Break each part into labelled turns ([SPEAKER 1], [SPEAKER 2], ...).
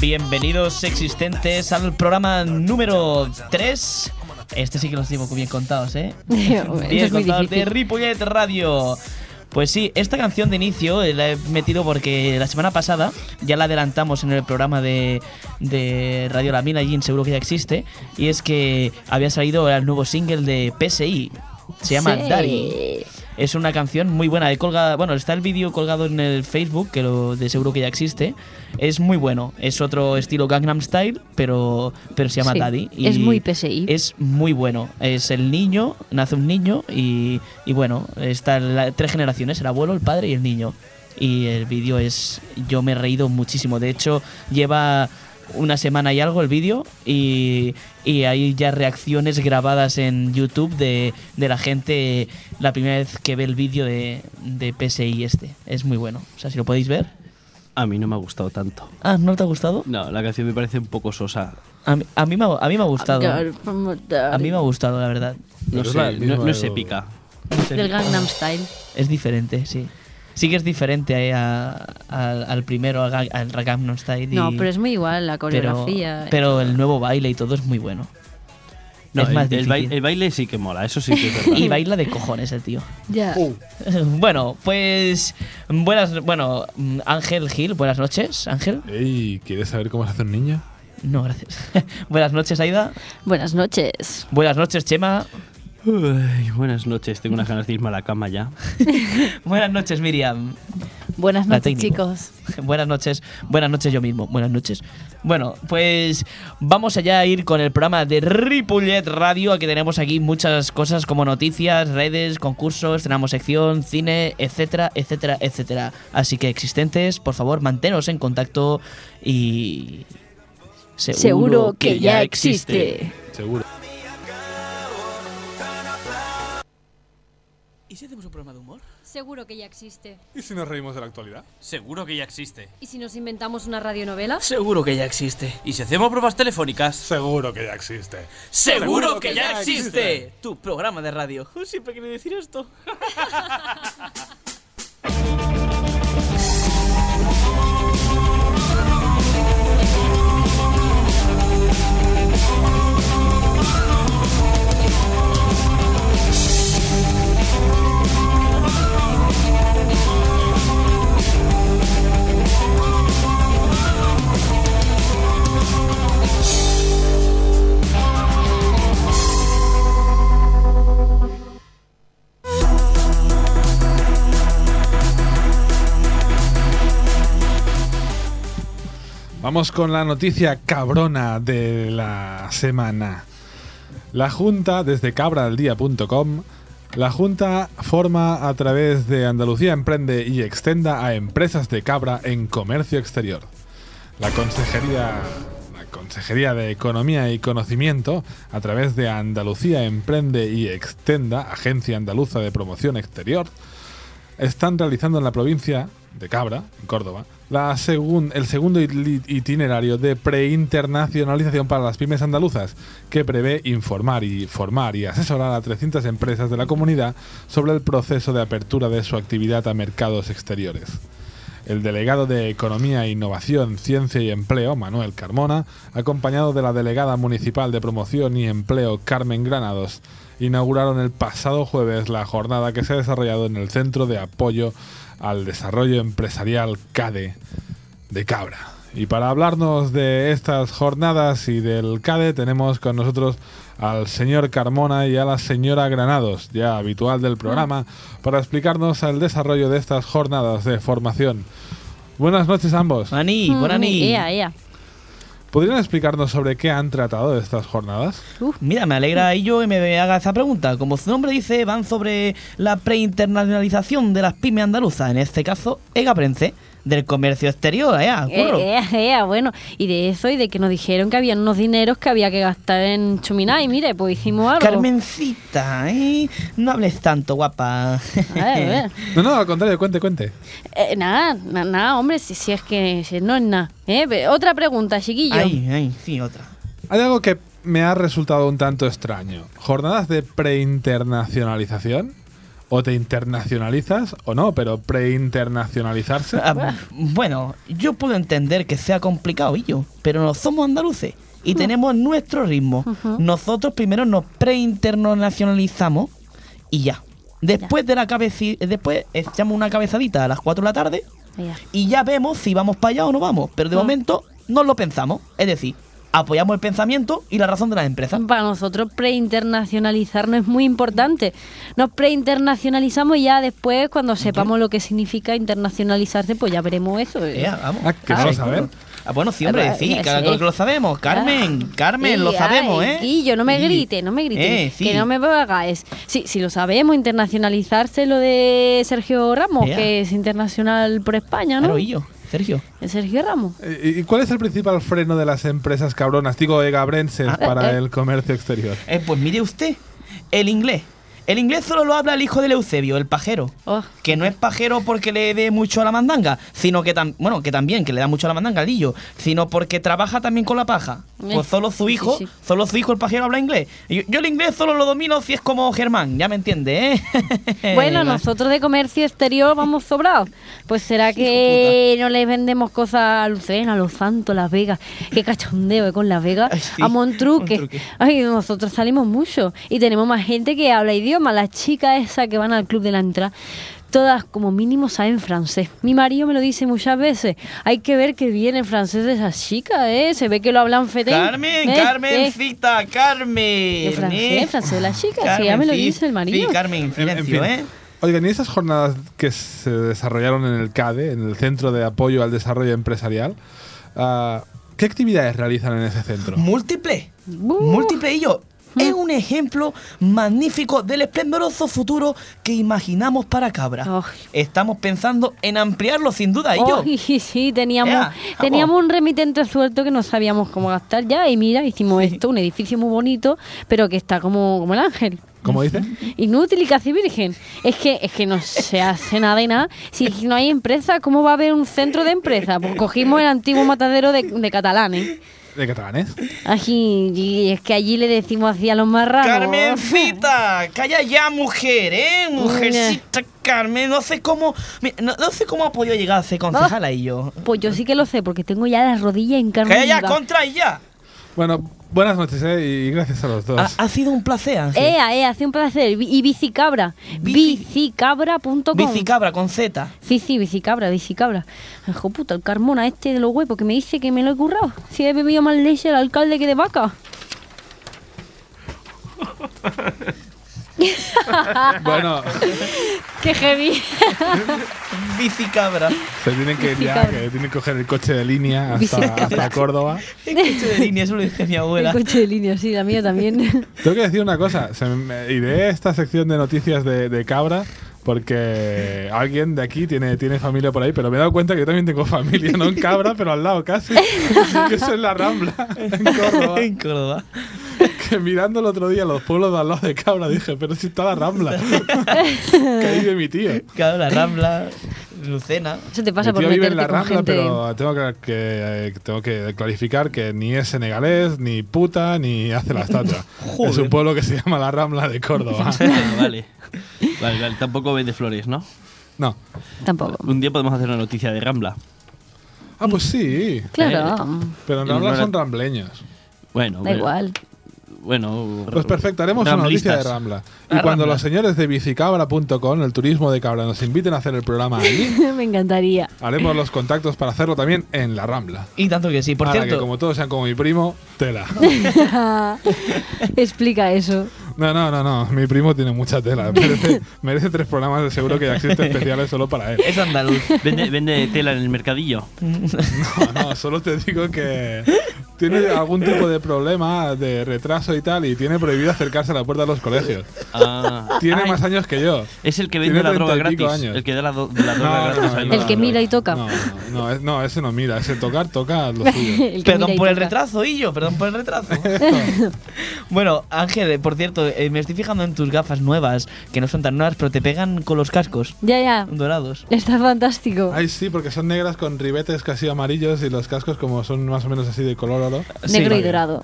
[SPEAKER 1] Bienvenidos existentes al programa número 3. Este sí que los llevo bien contados, ¿eh?
[SPEAKER 2] Eso
[SPEAKER 1] bien
[SPEAKER 2] es muy
[SPEAKER 1] contados de
[SPEAKER 2] difícil.
[SPEAKER 1] Ripollet Radio. Pues sí, esta canción de inicio eh, la he metido porque la semana pasada ya la adelantamos en el programa de, de Radio La Mina, Jin seguro que ya existe, y es que había salido el nuevo single de PSI, se llama
[SPEAKER 2] Sí.
[SPEAKER 1] Daddy. Es una canción muy buena. He colgado- bueno, está el vídeo colgado en el Facebook, que lo de seguro que ya existe. Es muy bueno. Es otro estilo Gangnam Style, pero, pero se llama
[SPEAKER 2] Sí,
[SPEAKER 1] Daddy.
[SPEAKER 2] es muy PSI.
[SPEAKER 1] Es muy bueno. Es el niño, nace un niño y, y bueno, está la- tres generaciones, el abuelo, el padre y el niño. Y el vídeo es... Yo me he reído muchísimo. De hecho, lleva una semana y algo el vídeo y, y hay ya reacciones grabadas en YouTube de, de la gente la primera vez que ve el vídeo de, de PSI este. Es muy bueno. O sea, si lo podéis ver.
[SPEAKER 3] A mí no me ha gustado tanto.
[SPEAKER 1] Ah, ¿no te ha gustado?
[SPEAKER 3] No, la canción me parece un poco sosa.
[SPEAKER 1] A mí, a mí me, ha, a mí me ha gustado. A mí me ha gustado, la verdad.
[SPEAKER 3] No,
[SPEAKER 4] Pero es
[SPEAKER 3] sé,
[SPEAKER 4] la
[SPEAKER 3] no,
[SPEAKER 4] misma
[SPEAKER 3] no
[SPEAKER 4] de
[SPEAKER 3] es
[SPEAKER 4] lo-
[SPEAKER 3] épica.
[SPEAKER 2] Del Gangnam Style.
[SPEAKER 1] Es diferente, sí. Sí que es diferente eh, a- al- al primero, al, Ga- al Gangnam Style. y-
[SPEAKER 2] No, pero es muy igual la
[SPEAKER 1] pero-
[SPEAKER 2] coreografía. eh.
[SPEAKER 1] Pero, el nuevo baile y todo es muy bueno.
[SPEAKER 3] No,
[SPEAKER 1] es más
[SPEAKER 3] el, el
[SPEAKER 1] difícil.
[SPEAKER 3] bai- el baile sí que mola, eso sí que es verdad.
[SPEAKER 1] Y baila de cojones el tío.
[SPEAKER 2] Ya.
[SPEAKER 1] Uh. Bueno, pues buenas, bueno, mm, Ángel Gil, buenas noches, Ángel.
[SPEAKER 4] Ey, ¿quieres saber cómo se hace un niño?
[SPEAKER 1] No, gracias. buenas noches, Aida.
[SPEAKER 2] Buenas noches.
[SPEAKER 1] Buenas noches, Chema.
[SPEAKER 3] Uy, buenas noches, tengo unas ganas de irme a la cama ya.
[SPEAKER 1] Buenas noches, Miriam.
[SPEAKER 5] Buenas
[SPEAKER 1] La
[SPEAKER 5] noches,
[SPEAKER 1] técnico.
[SPEAKER 5] chicos.
[SPEAKER 1] Buenas noches, buenas noches yo mismo, buenas noches. Bueno, pues vamos allá a ir con el programa de Ripollet Radio, que tenemos aquí muchas cosas como noticias, redes, concursos, tenemos sección, cine, etcétera, etcétera, etcétera. Así que existentes, por favor, mantenos en contacto y...
[SPEAKER 2] Seguro que ya existe.
[SPEAKER 4] Seguro.
[SPEAKER 6] ¿Y si hacemos un programa de humor?
[SPEAKER 7] Seguro que ya existe.
[SPEAKER 4] ¿Y si nos reímos de la actualidad?
[SPEAKER 6] Seguro que ya existe.
[SPEAKER 7] ¿Y si nos inventamos una radionovela?
[SPEAKER 6] Seguro que ya existe. ¿Y si hacemos pruebas telefónicas?
[SPEAKER 4] Seguro que ya existe.
[SPEAKER 6] Seguro que ya existe. Tu programa de radio. Uy, Siempre quería decir esto.
[SPEAKER 4] Vamos con la noticia cabrona de la semana. La Junta, desde cabraldía.com, la Junta forma a través de Andalucía Emprende y extenda a empresas de cabra en comercio exterior. La Consejería, la Consejería de Economía y Conocimiento, a través de Andalucía Emprende y Extenda, Agencia Andaluza de Promoción Exterior, están realizando en la provincia de Cabra, en Córdoba, la segun- el segundo it- itinerario de preinternacionalización para las pymes andaluzas, que prevé informar y formar y asesorar a 300 empresas de la comunidad sobre el proceso de apertura de su actividad a mercados exteriores. El delegado de Economía, Innovación, Ciencia y Empleo, Manuel Carmona, acompañado de la delegada municipal de Promoción y Empleo, Carmen Granados, inauguraron el pasado jueves la jornada que se ha desarrollado en el Centro de Apoyo al Desarrollo Empresarial CADE de Cabra. Y para hablarnos de estas jornadas y del CADE tenemos con nosotros al señor Carmona y a la señora Granados, ya habitual del programa, para explicarnos el desarrollo de estas jornadas de formación. Buenas noches a ambos.
[SPEAKER 1] Ani,
[SPEAKER 2] Mm,
[SPEAKER 1] buena Ani.
[SPEAKER 2] Ea, ea.
[SPEAKER 4] ¿Podrían explicarnos sobre qué han tratado estas jornadas?
[SPEAKER 1] Mira, me
[SPEAKER 2] Mm.
[SPEAKER 1] alegra ello y me haga esa pregunta. Como su nombre dice, van sobre la preinternacionalización de las pymes andaluzas, en este caso, Ega Prence, del comercio exterior, ¿eh? Curro.
[SPEAKER 2] Eh, ea, ea, bueno, y de eso y de que nos dijeron que había unos dineros que había que gastar en Chuminá y mire, pues hicimos algo.
[SPEAKER 1] Carmencita, ¿eh? No hables tanto, guapa.
[SPEAKER 2] A ver, a ver.
[SPEAKER 4] No, no, al contrario, cuente, cuente.
[SPEAKER 2] Eh, nada, na- nada, hombre, si, si es que si no es nada. Eh, ve- otra pregunta, chiquillo.
[SPEAKER 1] Ay, ay, sí, otra.
[SPEAKER 4] Hay algo que me ha resultado un tanto extraño. ¿Jornadas de preinternacionalización? O te internacionalizas o no, pero preinternacionalizarse.
[SPEAKER 1] Ah, bueno, yo puedo entender que sea complicado, y yo, pero no somos andaluces y tenemos nuestro ritmo. Nosotros primero nos preinternacionalizamos y ya. Después de la cabeci- después echamos una cabezadita a las 4 de la tarde
[SPEAKER 2] Ya.
[SPEAKER 1] y ya vemos si vamos para allá o no vamos. Pero de momento no lo pensamos. Es decir, apoyamos el pensamiento y la razón de las empresas.
[SPEAKER 2] Para nosotros preinternacionalizarnos es muy importante. Nos preinternacionalizamos y ya después, cuando sepamos lo que significa internacionalizarse, pues ya veremos eso. eh.
[SPEAKER 1] Ea, vamos.
[SPEAKER 4] Ah, que no lo saben.
[SPEAKER 1] Ah, bueno, sí, hombre,
[SPEAKER 2] Ah,
[SPEAKER 1] sí,
[SPEAKER 2] ya
[SPEAKER 1] claro
[SPEAKER 2] sé.
[SPEAKER 1] que lo sabemos. Carmen, Carmen, lo
[SPEAKER 2] Y,
[SPEAKER 1] sabemos,
[SPEAKER 2] ay,
[SPEAKER 1] ¿eh?
[SPEAKER 2] Y yo no me
[SPEAKER 1] Y-
[SPEAKER 2] grite, no me grite.
[SPEAKER 1] Eh, sí.
[SPEAKER 2] Que no me hagáis. Sí, sí, lo sabemos, internacionalizarse lo de Sergio Ramos,
[SPEAKER 1] Ea.
[SPEAKER 2] que es internacional por España, ¿Ah, ¿no?
[SPEAKER 1] Claro, y yo, Sergio.
[SPEAKER 2] El Sergio Ramos.
[SPEAKER 4] Eh, ¿Y y cuál es el principal freno de las empresas cabronas, digo egabrenses,
[SPEAKER 1] Ah,
[SPEAKER 4] para
[SPEAKER 2] eh.
[SPEAKER 4] el comercio exterior?
[SPEAKER 1] Eh, pues mire usted, el inglés. El inglés solo lo habla el hijo del Eusebio, el pajero.
[SPEAKER 2] Oh.
[SPEAKER 1] Que no es pajero porque le dé mucho a la mandanga, sino que tam- bueno, que también, que le da mucho a la mandanga al lillo, sino porque trabaja también con la paja.
[SPEAKER 2] Eh,
[SPEAKER 1] Pues solo su
[SPEAKER 2] sí,
[SPEAKER 1] hijo,
[SPEAKER 2] sí.
[SPEAKER 1] solo su hijo el pajero habla inglés. Y Yo, yo el inglés solo lo domino si es como Germán, ya me entiende, ¿eh?
[SPEAKER 2] Bueno, nosotros de comercio exterior vamos sobrados. Pues será que no les vendemos cosas a Lucena, a Los Santos, Las Vegas. Qué cachondeo eh, con Las Vegas.
[SPEAKER 1] Ay, sí,
[SPEAKER 2] a Montruque.
[SPEAKER 1] Montruque.
[SPEAKER 2] Ay, nosotros salimos mucho. Y tenemos más gente que habla idioma. Las chicas esas que van al club de la entrada. Todas como mínimo saben francés. Mi marido me lo dice muchas veces. Hay que ver que viene francés de esas chicas, ¿eh? Se ve que lo hablan fetén.
[SPEAKER 1] Carmen,
[SPEAKER 2] Eh, eh.
[SPEAKER 1] Carmencita, Carmen.
[SPEAKER 2] El francés,
[SPEAKER 1] ¿eh?
[SPEAKER 2] el francés de las chicas, sí, ya me lo
[SPEAKER 1] sí,
[SPEAKER 2] dice el marido.
[SPEAKER 1] Sí, Carmen,
[SPEAKER 4] En- en
[SPEAKER 1] silencio,
[SPEAKER 4] fin.
[SPEAKER 1] ¿eh?
[SPEAKER 4] Oigan, ¿y esas jornadas que se desarrollaron en el CADE, E, en el Centro de Apoyo al Desarrollo Empresarial, ah, qué actividades realizan en ese centro?
[SPEAKER 1] Múltiple.
[SPEAKER 2] Uh.
[SPEAKER 1] Múltiple y yo. Es un ejemplo magnífico del esplendoroso futuro que imaginamos para Cabra.
[SPEAKER 2] Ay.
[SPEAKER 1] Estamos pensando en ampliarlo sin duda, y yo.
[SPEAKER 2] Ay, sí, teníamos,
[SPEAKER 1] Ea,
[SPEAKER 2] teníamos un remitente suelto que no sabíamos cómo gastar ya y mira, hicimos esto, un edificio muy bonito, pero que está como, como el ángel.
[SPEAKER 4] ¿Cómo dicen?
[SPEAKER 2] Inútil y casi virgen. Es que, es que no se hace nada y nada. Si no hay empresa, ¿cómo va a haber un centro de empresa? Pues cogimos el antiguo matadero de, de catalanes.
[SPEAKER 4] ¿De catalanes?
[SPEAKER 2] Allí, y es que allí le decimos así a los marranos.
[SPEAKER 1] Carmencita, calla ya, mujer, ¿eh? Mujercita, Carmen, no sé cómo. mi- No, no sé cómo ha podido llegar a ser concejala y yo.
[SPEAKER 2] Pues yo sí que lo sé, porque tengo ya las rodillas en carne
[SPEAKER 1] Calla ya,
[SPEAKER 2] viva.
[SPEAKER 1] contra y ya.
[SPEAKER 4] Bueno, buenas noches ¿eh? y gracias a los dos.
[SPEAKER 1] Ha, ha sido un placer, Ángel.
[SPEAKER 2] Ea, ea, hace un placer. Vi- Y bicicabra.
[SPEAKER 1] Bici-
[SPEAKER 2] Bicicabra.com.
[SPEAKER 1] Bicicabra con Z.
[SPEAKER 2] Sí, sí, bicicabra, bicicabra. Hijo puta, el Carmona este de los huevos que me dice que me lo he currado. Si he bebido más leche al alcalde que de vaca.
[SPEAKER 1] ah,
[SPEAKER 4] Bueno,
[SPEAKER 2] ¡Qué heavy!
[SPEAKER 1] Bicicabra.
[SPEAKER 4] se tienen que ir ya,
[SPEAKER 2] Bicicabra.
[SPEAKER 4] que tienen que coger el coche de línea hasta, hasta Córdoba.
[SPEAKER 1] Es que esto de línea, eso lo dice mi abuela.
[SPEAKER 2] El coche de línea, sí, la mía también.
[SPEAKER 4] Tengo que decir una cosa, se me- iré a esta sección de noticias de, de Cabra porque alguien de aquí tiene, tiene familia por ahí, pero me he dado cuenta que yo también tengo familia, no en Cabra, pero al lado casi. Yo soy en la Rambla, en Córdoba.
[SPEAKER 1] en Córdoba.
[SPEAKER 4] Que mirando el otro día los pueblos de al lado de Cabra dije, pero si está la Rambla. que ahí vive mi tío.
[SPEAKER 1] Claro, la Rambla, Lucena.
[SPEAKER 2] Eso te pasa
[SPEAKER 4] Mi
[SPEAKER 2] por
[SPEAKER 4] tío vive en
[SPEAKER 2] meterte
[SPEAKER 4] la
[SPEAKER 2] con
[SPEAKER 4] Rambla,
[SPEAKER 2] gente.
[SPEAKER 4] pero tengo que, que, eh, tengo que clarificar que ni es senegalés, ni puta, ni hace la estatua. es
[SPEAKER 1] Joder.
[SPEAKER 4] un pueblo que se llama la Rambla de Córdoba.
[SPEAKER 3] Ah, vale. Vale, vale. Tampoco vende flores, ¿no?
[SPEAKER 4] No.
[SPEAKER 2] Tampoco.
[SPEAKER 3] Un día podemos hacer una noticia de Rambla.
[SPEAKER 4] Ah, pues sí.
[SPEAKER 1] Eh,
[SPEAKER 2] Claro.
[SPEAKER 4] Pero
[SPEAKER 3] Y
[SPEAKER 4] no hablas
[SPEAKER 3] no era-
[SPEAKER 4] son rambleños.
[SPEAKER 3] Bueno,
[SPEAKER 2] Da
[SPEAKER 3] bueno,
[SPEAKER 2] igual.
[SPEAKER 3] Bueno,
[SPEAKER 4] Pues perfecto, haremos una noticia de
[SPEAKER 3] ramblistas.
[SPEAKER 4] Rambla. Y
[SPEAKER 1] Ah,
[SPEAKER 4] cuando
[SPEAKER 1] Rambla.
[SPEAKER 4] los señores de bicicabra.com, el turismo de cabra, nos inviten a hacer el programa allí,
[SPEAKER 2] me encantaría.
[SPEAKER 4] haremos los contactos para hacerlo también en la Rambla.
[SPEAKER 1] Y tanto que sí, por
[SPEAKER 4] Ahora que
[SPEAKER 1] cierto.
[SPEAKER 4] como todos sean como mi primo, tela.
[SPEAKER 2] Explica eso.
[SPEAKER 4] No, no, no, no. Mi primo tiene mucha tela. Merece, merece tres programas de seguro que ya existen especiales solo para él.
[SPEAKER 1] Es andaluz.
[SPEAKER 3] Vende, vende tela en el mercadillo.
[SPEAKER 4] No, no, solo te digo que tiene algún tipo de problema de retraso y tal y tiene prohibido acercarse a la puerta de los colegios.
[SPEAKER 3] Ah,
[SPEAKER 4] Tiene
[SPEAKER 3] ay,
[SPEAKER 4] más años que yo.
[SPEAKER 3] Es el que
[SPEAKER 4] tiene
[SPEAKER 3] vende la
[SPEAKER 4] treinta
[SPEAKER 3] droga
[SPEAKER 4] y pico
[SPEAKER 3] gratis.
[SPEAKER 4] años.
[SPEAKER 3] El que da la, do- la droga gratis al
[SPEAKER 2] El que
[SPEAKER 3] mercado.
[SPEAKER 2] mira y toca.
[SPEAKER 4] No, no, no, es- no, ese no mira, ese tocar, toca lo suyo.
[SPEAKER 2] El que mira
[SPEAKER 1] Perdón
[SPEAKER 2] y
[SPEAKER 1] por el
[SPEAKER 2] toca.
[SPEAKER 1] retraso, Illo, perdón por el retraso. bueno, Ángel, eh, por cierto, eh, me estoy fijando en tus gafas nuevas, que no son tan nuevas, pero te pegan con los cascos
[SPEAKER 2] Ya, ya.
[SPEAKER 1] dorados.
[SPEAKER 2] Está fantástico.
[SPEAKER 4] Ay, sí, porque son negras con ribetes casi amarillos y los cascos como son más o menos así de color oro.
[SPEAKER 2] Negro
[SPEAKER 1] sí.
[SPEAKER 2] y dorado.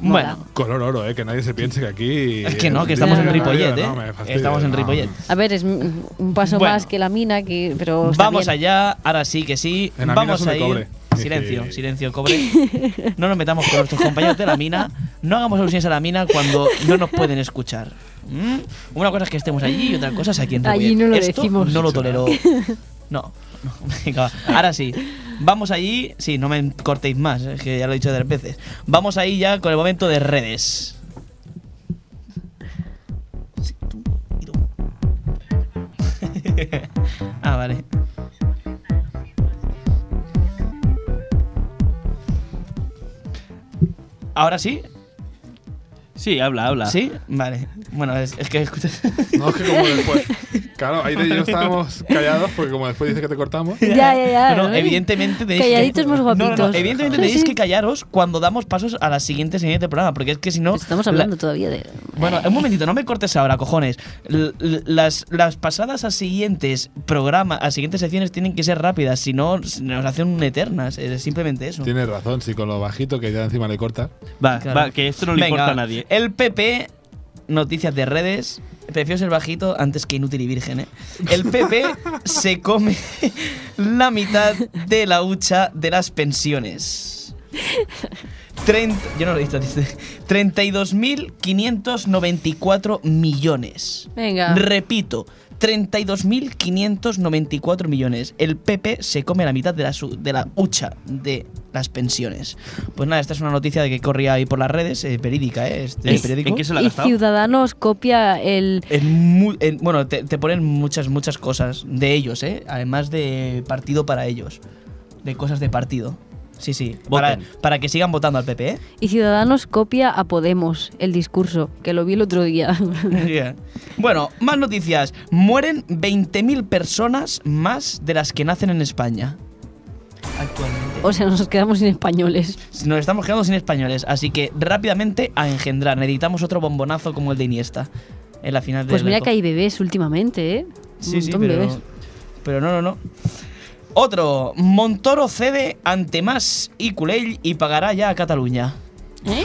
[SPEAKER 2] Mola.
[SPEAKER 1] Bueno.
[SPEAKER 4] Color oro, eh, que nadie se piense que aquí.
[SPEAKER 1] Es que no, que estamos en
[SPEAKER 4] No,
[SPEAKER 1] Ripollet,
[SPEAKER 4] no,
[SPEAKER 1] eh.
[SPEAKER 4] me fastidia,
[SPEAKER 1] Estamos en
[SPEAKER 4] no.
[SPEAKER 1] Ripollet.
[SPEAKER 2] A ver, es un un paso
[SPEAKER 1] Bueno.
[SPEAKER 2] más que la mina, que, pero. está
[SPEAKER 1] Vamos
[SPEAKER 2] bien.
[SPEAKER 1] allá, ahora sí que sí.
[SPEAKER 4] En la mina
[SPEAKER 1] Vamos
[SPEAKER 4] son de
[SPEAKER 1] a ir.
[SPEAKER 4] cobre.
[SPEAKER 1] Silencio,
[SPEAKER 4] Sí.
[SPEAKER 1] silencio, cobre. No nos metamos con nuestros compañeros de la mina. No hagamos alusiones a la mina cuando no nos pueden escuchar. ¿Mm? Una cosa es que estemos allí y otra cosa es aquí en
[SPEAKER 2] Allí
[SPEAKER 1] Ripollet.
[SPEAKER 2] no lo
[SPEAKER 1] Esto
[SPEAKER 2] decimos.
[SPEAKER 1] No lo tolero. No. Venga, va. ahora sí. Vamos allí. Sí, no me cortéis más, es que ya lo he dicho tres veces. Vamos ahí ya con el momento de redes. Sí, tú y tú. ah, vale. Ahora sí,
[SPEAKER 3] Sí, habla, habla.
[SPEAKER 1] sí, vale. Bueno, es, es que escuchas.
[SPEAKER 4] No, es que como después. Claro, ahí de lleno estábamos callados porque como después dice que te cortamos.
[SPEAKER 2] Ya, ya, ya.
[SPEAKER 1] No, no,
[SPEAKER 2] ¿no?
[SPEAKER 1] evidentemente tenéis
[SPEAKER 2] Calladitos
[SPEAKER 1] que,
[SPEAKER 2] más
[SPEAKER 1] No, no, no,
[SPEAKER 2] guapitos.
[SPEAKER 1] evidentemente
[SPEAKER 2] Sí,
[SPEAKER 1] tenéis
[SPEAKER 2] sí.
[SPEAKER 1] que callaros cuando damos pasos a la siguiente señal del programa, porque es que si no...
[SPEAKER 2] Estamos
[SPEAKER 1] la-
[SPEAKER 2] hablando todavía de.
[SPEAKER 1] bueno, un momentito, no me cortes ahora, cojones. L- l- las, las pasadas a siguientes programas, a siguientes secciones tienen que ser rápidas, si no s- nos hacen un eternas, es simplemente eso.
[SPEAKER 4] Tienes razón, sí, con lo bajito que ya encima le corta.
[SPEAKER 3] Va,
[SPEAKER 1] Claro.
[SPEAKER 3] va, que esto no le
[SPEAKER 1] Venga,
[SPEAKER 3] importa
[SPEAKER 1] va.
[SPEAKER 3] a nadie.
[SPEAKER 1] El PP, noticias de redes. Prefiero ser bajito antes que inútil y virgen, ¿eh? El PP se come la mitad de la hucha de las pensiones. Trein- yo no lo he visto, dice. 32.594 millones.
[SPEAKER 2] Venga.
[SPEAKER 1] Repito, 32.594 millones. El PP se come la mitad de la, su- de la hucha de las pensiones. Pues nada, esta es una noticia de que corría ahí por las redes, eh, verídica, ¿eh? Este
[SPEAKER 3] ¿En-
[SPEAKER 1] periódico.
[SPEAKER 3] ¿En qué se lo ha
[SPEAKER 2] y
[SPEAKER 3] gastado?
[SPEAKER 2] Ciudadanos copia el.
[SPEAKER 1] En mu- en- bueno, te, te ponen muchas, muchas cosas de ellos, ¿eh? Además de partido para ellos. De cosas de partido. Sí, sí. Para,
[SPEAKER 3] Voten.
[SPEAKER 1] para que sigan votando al PP, ¿eh?
[SPEAKER 2] Y Ciudadanos copia a Podemos el discurso, que lo vi el otro día.
[SPEAKER 1] Yeah. Bueno, más noticias. Mueren 20.000 personas más de las que nacen en España. Actualmente.
[SPEAKER 2] o sea, nos quedamos sin españoles.
[SPEAKER 1] Nos estamos quedando sin españoles, así que rápidamente a engendrar. Necesitamos otro bombonazo como el de Iniesta en la final de
[SPEAKER 2] Pues
[SPEAKER 1] la
[SPEAKER 2] mira
[SPEAKER 1] Copa.
[SPEAKER 2] que hay bebés últimamente, ¿eh? Un
[SPEAKER 1] Sí, sí,
[SPEAKER 2] montón
[SPEAKER 1] pero,
[SPEAKER 2] bebés.
[SPEAKER 1] pero no, no, no. Otro, Montoro cede ante más y Culell y pagará ya a Cataluña.
[SPEAKER 2] ¿Eh?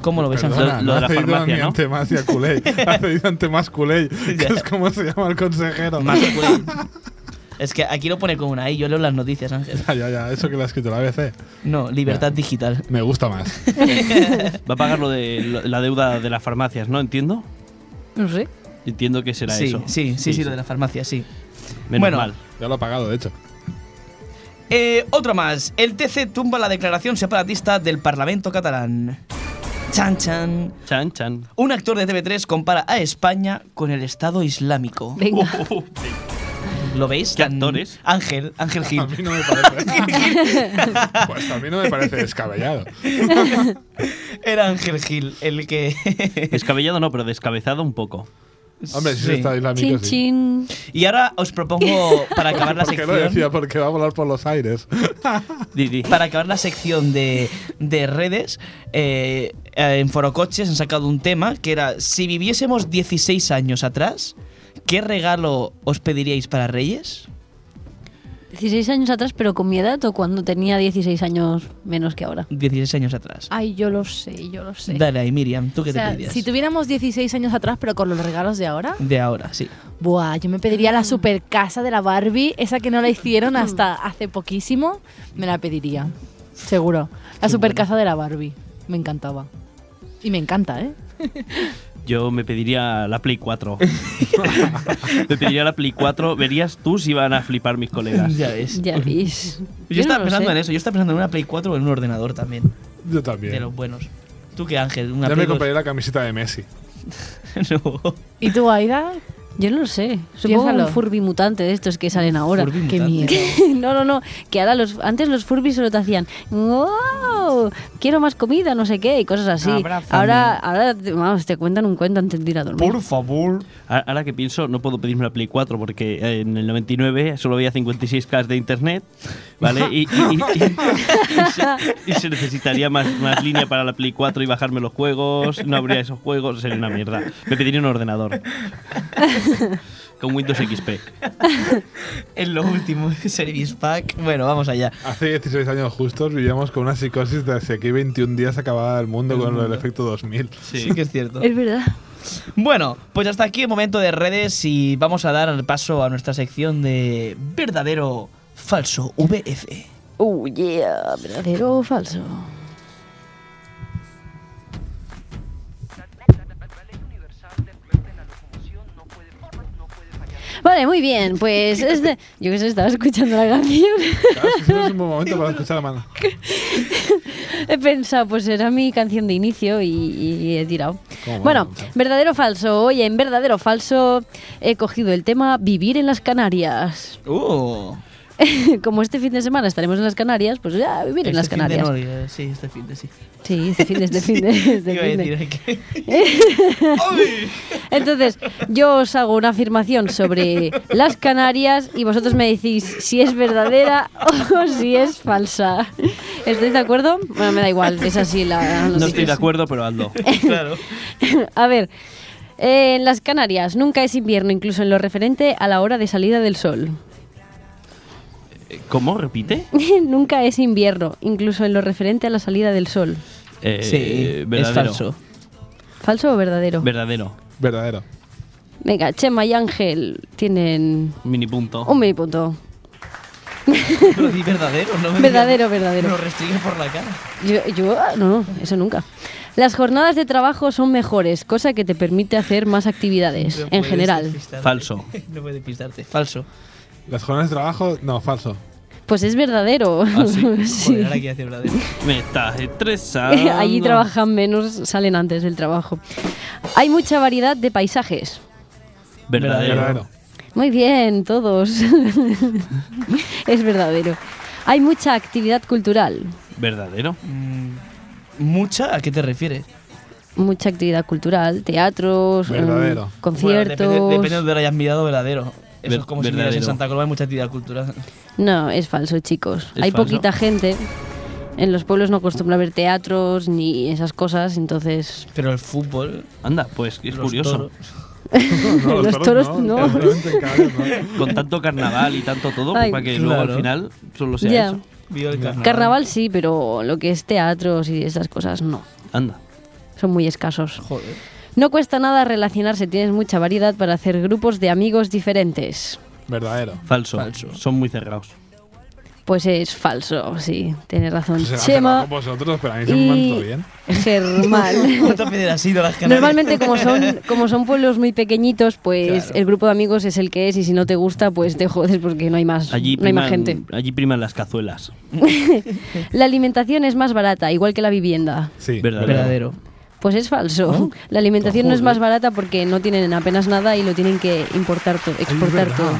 [SPEAKER 1] ¿Cómo lo ves, Ángel?
[SPEAKER 4] Perdona,
[SPEAKER 3] lo de
[SPEAKER 4] no
[SPEAKER 3] la
[SPEAKER 4] ha cedido
[SPEAKER 3] farmacia,
[SPEAKER 4] ni
[SPEAKER 3] ¿no?
[SPEAKER 4] ante más y a Culey. Ha cedido ante más Culey, que
[SPEAKER 1] Ya.
[SPEAKER 4] es como se llama el consejero.
[SPEAKER 1] Más y Culell. Es que aquí lo pone con una I, yo leo las noticias, Ángel.
[SPEAKER 4] Ya, ya, ya, eso que lo ha escrito la ABC.
[SPEAKER 1] No, libertad
[SPEAKER 4] Ya.
[SPEAKER 1] digital.
[SPEAKER 4] Me gusta más.
[SPEAKER 3] Va a pagar lo de lo- la deuda de las farmacias, ¿no? Entiendo.
[SPEAKER 2] No sé.
[SPEAKER 3] Entiendo que será
[SPEAKER 1] Sí,
[SPEAKER 3] eso.
[SPEAKER 1] sí, sí, sí, lo de la farmacia, sí.
[SPEAKER 3] Menos
[SPEAKER 1] Bueno.
[SPEAKER 3] mal.
[SPEAKER 4] Ya lo ha pagado, de hecho.
[SPEAKER 1] Eh, otro más. El TC tumba la declaración separatista del Parlamento catalán. Chan chan.
[SPEAKER 3] Chan, chan.
[SPEAKER 1] Un actor de TV3 compara a España con el Estado Islámico.
[SPEAKER 2] Venga.
[SPEAKER 1] ¿Lo veis?
[SPEAKER 3] ¿Qué
[SPEAKER 1] Tan-
[SPEAKER 3] actores?
[SPEAKER 1] Ángel, Ángel
[SPEAKER 4] A
[SPEAKER 1] Gil.
[SPEAKER 4] mí no me parece. pues a mí no me parece descabellado.
[SPEAKER 1] Era Ángel Gil el que...
[SPEAKER 3] Descabellado no, pero descabezado un poco.
[SPEAKER 4] Hombre, si
[SPEAKER 1] Sí.
[SPEAKER 4] es Estado Islámico,
[SPEAKER 2] Chin,
[SPEAKER 4] sí.
[SPEAKER 2] chin.
[SPEAKER 1] Y ahora os propongo, para acabar la
[SPEAKER 4] ¿Por qué lo decía?
[SPEAKER 1] sección...
[SPEAKER 4] Porque va a volar por los aires.
[SPEAKER 3] Di, di.
[SPEAKER 1] Para acabar la sección de, de redes, eh, eh, en Forocoches han sacado un tema que era, si viviésemos 16 años atrás, ¿qué regalo os pediríais para Reyes?
[SPEAKER 2] 16 años atrás, pero con mi edad o cuando tenía 16 años menos que ahora.
[SPEAKER 1] 16 años atrás.
[SPEAKER 5] Ay, yo lo sé, yo lo sé.
[SPEAKER 1] Dale ahí, Miriam, ¿tú qué
[SPEAKER 5] Ah, O sea,
[SPEAKER 1] te pedirías?
[SPEAKER 5] si tuviéramos 16 años atrás, pero con los regalos de ahora,
[SPEAKER 1] De ahora, sí.
[SPEAKER 5] buah, yo me pediría
[SPEAKER 4] Mm.
[SPEAKER 5] la super casa de la Barbie, esa que no la hicieron hasta hace poquísimo, me la pediría, seguro. La super casa de la Barbie, me encantaba. Y me encanta, ¿eh?
[SPEAKER 3] Yo me pediría la Play 4. me pediría la Play 4. Verías tú si van a flipar mis colegas.
[SPEAKER 1] Ya ves.
[SPEAKER 2] Ya veis.
[SPEAKER 1] Yo, estaba
[SPEAKER 2] no lo
[SPEAKER 1] pensando
[SPEAKER 2] sé.
[SPEAKER 1] en eso, yo estaba pensando en una Play 4 o en un ordenador también,
[SPEAKER 4] Yo
[SPEAKER 1] de
[SPEAKER 4] también.
[SPEAKER 1] los buenos. ¿Tú qué, Ángel? ¿Una
[SPEAKER 4] Ya me
[SPEAKER 1] Play
[SPEAKER 4] compré la camiseta de Messi.
[SPEAKER 1] dos? no.
[SPEAKER 5] ¿Y tú, Aida?
[SPEAKER 2] Yo no lo sé. Supongo
[SPEAKER 5] Piénsalo.
[SPEAKER 2] un Furby mutante de estos que salen ahora.
[SPEAKER 1] Furby
[SPEAKER 5] Qué
[SPEAKER 1] mutante.
[SPEAKER 5] miedo.
[SPEAKER 2] no, no, no. Que ahora los, antes los Furby solo te hacían ¡Wow! Quiero más comida, no sé qué, y cosas así.
[SPEAKER 1] Abrázame.
[SPEAKER 2] Ahora, ahora te- vamos, te cuentan un cuento antes de ir a dormir.
[SPEAKER 1] Por favor.
[SPEAKER 3] A- Ahora que pienso, no puedo pedirme la Play 4 porque eh, en el 99 solo había 56K de internet, ¿vale? Y, y- y- y- y se, y se necesitaría más, más línea para la Play 4 y bajarme los juegos, no habría esos juegos, sería una mierda. Me pediría un ordenador. con Windows XP.
[SPEAKER 1] En lo último, Service Pack. Bueno, vamos allá.
[SPEAKER 4] Hace 16 años justos vivíamos con una psicosis de hacia aquí 21 días acababa el mundo
[SPEAKER 1] El
[SPEAKER 4] con lo del
[SPEAKER 1] mundo.
[SPEAKER 4] efecto 2000.
[SPEAKER 1] Sí que es cierto.
[SPEAKER 2] Es verdad.
[SPEAKER 1] Bueno, pues hasta aquí el momento de redes y vamos a dar paso a nuestra sección de verdadero falso VF.
[SPEAKER 2] Oh, yeah. ¿Verdadero o falso? Vale, muy bien. Pues es de. Yo que sé, estaba escuchando la canción.
[SPEAKER 4] Claro, es que siempre es un buen momento para escuchar la mano.
[SPEAKER 2] He pensado, pues era mi canción de inicio y, y he tirado.
[SPEAKER 4] ¿Cómo
[SPEAKER 2] Bueno,
[SPEAKER 4] vamos?
[SPEAKER 2] verdadero o falso. Oye, en verdadero o falso he cogido el tema vivir en las Canarias.
[SPEAKER 1] Uh,
[SPEAKER 2] Como este fin de semana estaremos en las Canarias, pues ya vivir en las
[SPEAKER 1] este fin de
[SPEAKER 2] Canarias.
[SPEAKER 1] no, eh, sí, este fin de sí.
[SPEAKER 2] Sí, este fin de, este fin de, este
[SPEAKER 1] Iba a
[SPEAKER 2] fin de.
[SPEAKER 1] decir que-
[SPEAKER 2] Entonces, yo os hago una afirmación sobre las Canarias y vosotros me decís si es verdadera o si es falsa. ¿Estáis de acuerdo? Bueno, me da igual, es así la...
[SPEAKER 3] No estoy de acuerdo, pero hazlo.
[SPEAKER 1] claro.
[SPEAKER 2] A ver, eh, en las Canarias nunca es invierno, incluso en lo referente a la hora de salida del sol.
[SPEAKER 3] Eh, ¿Cómo? ¿Repite?
[SPEAKER 2] nunca es invierno, incluso en lo referente a la salida del sol.
[SPEAKER 3] Eh,
[SPEAKER 1] sí, es
[SPEAKER 3] verdadero.
[SPEAKER 1] falso.
[SPEAKER 2] ¿Falso o verdadero?
[SPEAKER 3] Verdadero.
[SPEAKER 4] Verdadero.
[SPEAKER 2] Venga, Chema y Ángel tienen
[SPEAKER 3] Mini punto.
[SPEAKER 2] un medio punto.
[SPEAKER 1] Pero di verdadero, no me digas-
[SPEAKER 2] Verdadero, verdadero.
[SPEAKER 1] Lo restringe por la cara.
[SPEAKER 2] Yo, yo, ah, no, eso nunca. Las jornadas de trabajo son mejores, cosa que te permite hacer más actividades,
[SPEAKER 1] No
[SPEAKER 2] en
[SPEAKER 1] puedes
[SPEAKER 2] general.
[SPEAKER 1] despistarte.
[SPEAKER 3] Falso.
[SPEAKER 1] No puedes despistarte. Falso.
[SPEAKER 4] Las jornadas de trabajo, no, falso.
[SPEAKER 2] Pues es verdadero.
[SPEAKER 3] Ah, sí.
[SPEAKER 1] Joder, ahora que hace verdadero.
[SPEAKER 3] Me estás estresando.
[SPEAKER 2] Allí trabajan menos, salen antes del trabajo. Hay mucha variedad de paisajes.
[SPEAKER 3] Verdadero.
[SPEAKER 4] Verdadero.
[SPEAKER 2] Muy bien, todos. es verdadero. Hay mucha actividad cultural.
[SPEAKER 3] Verdadero.
[SPEAKER 1] Mm, ¿Mucha? ¿A qué te refieres?
[SPEAKER 2] Mucha actividad cultural, teatros, eh,
[SPEAKER 4] Verdadero.
[SPEAKER 2] conciertos.
[SPEAKER 1] Bueno, depende, depende de donde lo hayas mirado, verdadero. Eso
[SPEAKER 3] Ver-
[SPEAKER 1] es como si miras en
[SPEAKER 3] verdadero.
[SPEAKER 1] Santa Coloma hay mucha actividad cultural.
[SPEAKER 2] No, es falso, chicos.
[SPEAKER 3] ¿Es
[SPEAKER 2] Hay
[SPEAKER 3] falso?
[SPEAKER 2] poquita gente. En los pueblos no acostumbra haber teatros ni esas cosas, entonces
[SPEAKER 1] Pero el fútbol.
[SPEAKER 3] Anda, pues es
[SPEAKER 1] los toros-
[SPEAKER 3] curioso.
[SPEAKER 4] No,
[SPEAKER 2] Los toros no.
[SPEAKER 4] seguramente en Canarias no.
[SPEAKER 3] Con tanto carnaval y tanto todo, pues,
[SPEAKER 2] Ay,
[SPEAKER 3] para que luego
[SPEAKER 1] claro.
[SPEAKER 3] al final solo sea
[SPEAKER 2] Ya.
[SPEAKER 3] eso.
[SPEAKER 1] vio el carnaval.
[SPEAKER 2] carnaval sí, pero lo que es teatros y esas cosas no.
[SPEAKER 3] Anda.
[SPEAKER 2] Son muy escasos.
[SPEAKER 1] Joder.
[SPEAKER 2] No cuesta nada relacionarse, tienes mucha variedad para hacer grupos de amigos diferentes.
[SPEAKER 4] Verdadero.
[SPEAKER 3] Falso.
[SPEAKER 1] Falso.
[SPEAKER 3] Son muy cerrados.
[SPEAKER 2] Pues es falso, sí, tienes razón.
[SPEAKER 4] Pues Se va a cerrar
[SPEAKER 2] Chema
[SPEAKER 4] con vosotros, pero a mí se me
[SPEAKER 2] y
[SPEAKER 4] mantuvo bien.
[SPEAKER 2] Germán.
[SPEAKER 1] ¿Cuántas veces has ido a las Canarias?
[SPEAKER 2] Normalmente como son, como son pueblos muy pequeñitos, pues
[SPEAKER 1] Claro.
[SPEAKER 2] el grupo de amigos es el que es y si no te gusta, pues te jodes porque no hay más,
[SPEAKER 3] Allí
[SPEAKER 2] no hay más
[SPEAKER 3] priman-
[SPEAKER 2] gente.
[SPEAKER 3] Allí priman las cazuelas.
[SPEAKER 2] La alimentación es más barata, igual que la vivienda.
[SPEAKER 4] Sí.
[SPEAKER 3] Verdadero.
[SPEAKER 1] Verdadero.
[SPEAKER 2] Pues es falso.
[SPEAKER 3] Oh.
[SPEAKER 2] La alimentación no es más barata porque no tienen apenas nada y lo tienen que importar todo, exportar
[SPEAKER 4] verdad.
[SPEAKER 2] todo.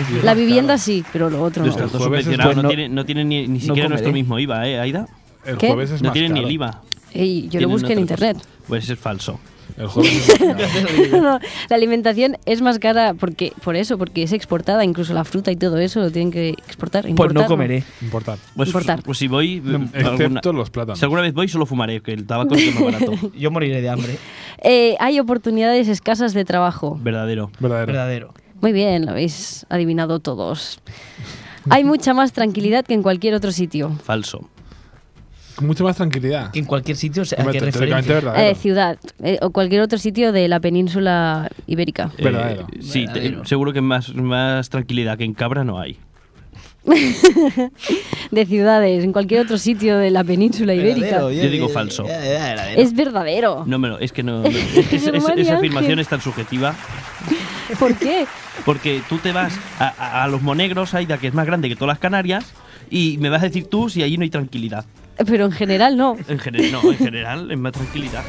[SPEAKER 1] Es verdad.
[SPEAKER 2] La vivienda sí, pero lo otro
[SPEAKER 3] Los
[SPEAKER 2] no.
[SPEAKER 4] El
[SPEAKER 3] tanto
[SPEAKER 4] jueves es
[SPEAKER 3] subvencionados
[SPEAKER 1] bueno.
[SPEAKER 3] no, tienen no tienen ni, ni siquiera
[SPEAKER 1] comeré.
[SPEAKER 3] nuestro mismo IVA, ¿eh, Aida?
[SPEAKER 4] El
[SPEAKER 2] ¿Qué?
[SPEAKER 4] jueves es
[SPEAKER 3] No
[SPEAKER 4] más
[SPEAKER 3] tienen ni
[SPEAKER 4] caro.
[SPEAKER 3] el IVA.
[SPEAKER 2] Ey, yo lo
[SPEAKER 3] Tienen
[SPEAKER 2] busqué en
[SPEAKER 3] otra cosa.
[SPEAKER 2] internet.
[SPEAKER 3] Pues es falso.
[SPEAKER 4] El jueves es más caro.
[SPEAKER 2] No, la alimentación es más cara porque por eso, porque es exportada, incluso la fruta y todo eso lo tienen que exportar.
[SPEAKER 1] Pues
[SPEAKER 2] importar,
[SPEAKER 1] no comeré.
[SPEAKER 4] Importar.
[SPEAKER 3] Pues,
[SPEAKER 2] Importar.
[SPEAKER 3] pues si voy. alguna-
[SPEAKER 4] Excepto los plátanos.
[SPEAKER 3] si alguna vez voy, solo fumaré, que el tabaco es más barato.
[SPEAKER 1] Yo moriré de hambre.
[SPEAKER 2] Eh, hay oportunidades escasas de trabajo.
[SPEAKER 3] Verdadero.
[SPEAKER 4] Verdadero.
[SPEAKER 1] Verdadero.
[SPEAKER 2] Muy bien, lo habéis adivinado todos. Hay mucha más tranquilidad que en cualquier otro sitio.
[SPEAKER 3] Falso.
[SPEAKER 4] Con Mucha más tranquilidad.
[SPEAKER 1] Que en cualquier sitio, o sea, ¿a
[SPEAKER 4] Hombre,
[SPEAKER 1] qué
[SPEAKER 4] teóricamente
[SPEAKER 1] referencia?
[SPEAKER 4] verdadero.
[SPEAKER 2] Eh, ciudad eh, o cualquier otro sitio de la península ibérica.
[SPEAKER 3] Eh,
[SPEAKER 4] Verdadero.
[SPEAKER 3] sí, te-
[SPEAKER 1] Verdadero.
[SPEAKER 3] seguro que más, más tranquilidad que en Cabra no hay.
[SPEAKER 2] De ciudades, en cualquier otro sitio de la península ibérica.
[SPEAKER 1] Verdadero,
[SPEAKER 3] Yo digo falso.
[SPEAKER 1] ya, ya, verdadero.
[SPEAKER 2] Es verdadero.
[SPEAKER 3] No me lo, es que no. no- es- es-
[SPEAKER 2] Germán y
[SPEAKER 3] esa
[SPEAKER 2] Ángel.
[SPEAKER 3] afirmación es tan subjetiva
[SPEAKER 2] ¿Por qué?
[SPEAKER 3] porque tú te vas a, a- a los monegros, Aida, que es más grande que todas las Canarias, y me vas a decir tú si allí no hay tranquilidad.
[SPEAKER 2] Pero en general no.
[SPEAKER 3] En general, no, en general es más tranquilidad.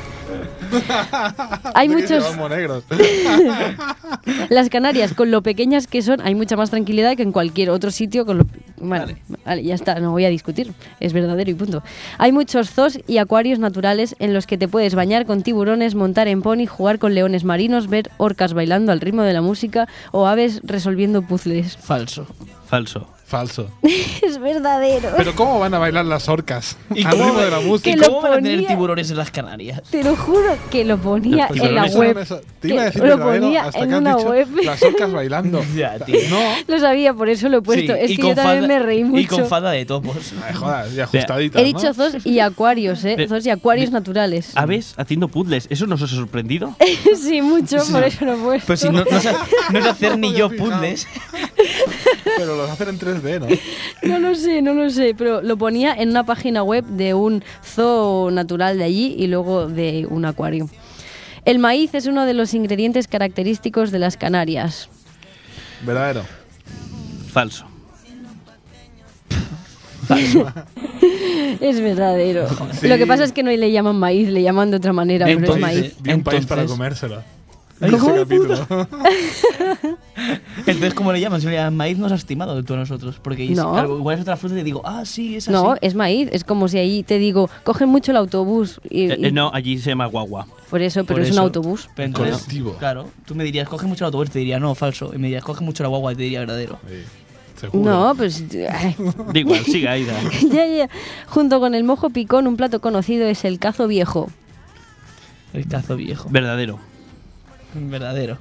[SPEAKER 2] Hay
[SPEAKER 4] Pensé que
[SPEAKER 2] muchos.
[SPEAKER 4] llevábamos negros.
[SPEAKER 2] Las Canarias, con lo pequeñas que son, hay mucha más tranquilidad que en cualquier otro sitio. Con lo... Vale, vale, ya está, no voy a discutir. Es verdadero y punto. Hay muchos zoos y acuarios naturales en los que te puedes bañar con tiburones, montar en pony, jugar con leones marinos, ver orcas bailando al ritmo de la música o aves resolviendo puzzles.
[SPEAKER 1] falso.
[SPEAKER 3] Falso.
[SPEAKER 4] Falso.
[SPEAKER 2] es verdadero.
[SPEAKER 4] Pero ¿cómo van a bailar las orcas?
[SPEAKER 1] ¿Y
[SPEAKER 4] Al
[SPEAKER 1] cómo
[SPEAKER 4] ritmo de la
[SPEAKER 1] va-
[SPEAKER 4] música.
[SPEAKER 1] ¿Y
[SPEAKER 2] Que lo
[SPEAKER 1] cómo van a tener
[SPEAKER 2] ponía-
[SPEAKER 1] tiburones en las Canarias?
[SPEAKER 2] Te lo juro que lo ponía
[SPEAKER 3] Los
[SPEAKER 2] en la
[SPEAKER 3] tiburones.
[SPEAKER 2] web.
[SPEAKER 4] Eso- Te iba a
[SPEAKER 2] que
[SPEAKER 4] decir
[SPEAKER 2] lo
[SPEAKER 4] verdadero
[SPEAKER 2] ponía
[SPEAKER 4] hasta que
[SPEAKER 2] en
[SPEAKER 4] has
[SPEAKER 2] una
[SPEAKER 4] dicho
[SPEAKER 2] web.
[SPEAKER 4] las orcas bailando.
[SPEAKER 1] Ya, tío.
[SPEAKER 4] No,
[SPEAKER 2] Lo sabía, por eso lo he puesto.
[SPEAKER 1] Sí,
[SPEAKER 2] es
[SPEAKER 1] y
[SPEAKER 2] que
[SPEAKER 1] con
[SPEAKER 2] yo también
[SPEAKER 1] falda-
[SPEAKER 2] me reí mucho.
[SPEAKER 1] Y con fada de topos.
[SPEAKER 4] me jodas, y ajustaditas.
[SPEAKER 2] He dicho
[SPEAKER 4] ¿no?
[SPEAKER 2] zoos y acuarios, ¿eh?
[SPEAKER 3] Pero-
[SPEAKER 2] Zoos y acuarios naturales.
[SPEAKER 3] Aves haciendo puzzles, ¿eso nos ha sorprendido?
[SPEAKER 2] sí, mucho, por eso lo he puesto.
[SPEAKER 4] Pues
[SPEAKER 1] Pero
[SPEAKER 3] Pues
[SPEAKER 1] si no, no, sé, no sé hacer ni
[SPEAKER 4] No
[SPEAKER 1] yo
[SPEAKER 4] me había
[SPEAKER 1] puzzles.
[SPEAKER 4] Pero los hacen en 3D, ¿no?
[SPEAKER 2] No lo sé, no lo sé, pero lo ponía en una página web de un zoo natural de allí y luego de un acuario. El maíz es uno de los ingredientes característicos de las Canarias.
[SPEAKER 4] Verdadero.
[SPEAKER 3] Falso.
[SPEAKER 2] Es verdadero.
[SPEAKER 4] Sí.
[SPEAKER 2] Lo que pasa es que no le llaman maíz, le llaman de otra manera, pero es
[SPEAKER 1] Entonces-
[SPEAKER 2] maíz.
[SPEAKER 4] Vi un país para
[SPEAKER 1] Entonces-
[SPEAKER 4] comérselo.
[SPEAKER 1] Ay,
[SPEAKER 4] Ese
[SPEAKER 1] hijo de
[SPEAKER 4] capítulo.
[SPEAKER 1] Entonces, ¿cómo le llaman? Si le llaman maíz, nos has timado tú a nosotros. Porque dices,
[SPEAKER 2] No.
[SPEAKER 1] claro, igual es otra fruta y te digo, ah, sí, es así.
[SPEAKER 2] No, eh, es maíz. Es como si ahí te digo, cogen mucho el autobús. Y,
[SPEAKER 3] Eh,
[SPEAKER 2] y-
[SPEAKER 3] eh, no, allí se llama guagua.
[SPEAKER 2] Por eso, pero
[SPEAKER 1] Por
[SPEAKER 2] es
[SPEAKER 1] eso.
[SPEAKER 2] un autobús.
[SPEAKER 1] Pero entonces,
[SPEAKER 4] Colectivo.
[SPEAKER 1] Claro, tú me dirías, coge mucho el autobús, te diría, no, falso. Y me dirías, coge mucho la guagua, y te diría, verdadero.
[SPEAKER 4] Sí, seguro.
[SPEAKER 2] No, pues. ay,
[SPEAKER 3] Da igual, siga, Aida.
[SPEAKER 2] ya, ya. Junto con el mojo picón, un plato conocido es el cazo viejo.
[SPEAKER 1] El cazo viejo.
[SPEAKER 3] Verdadero.
[SPEAKER 1] Verdadero.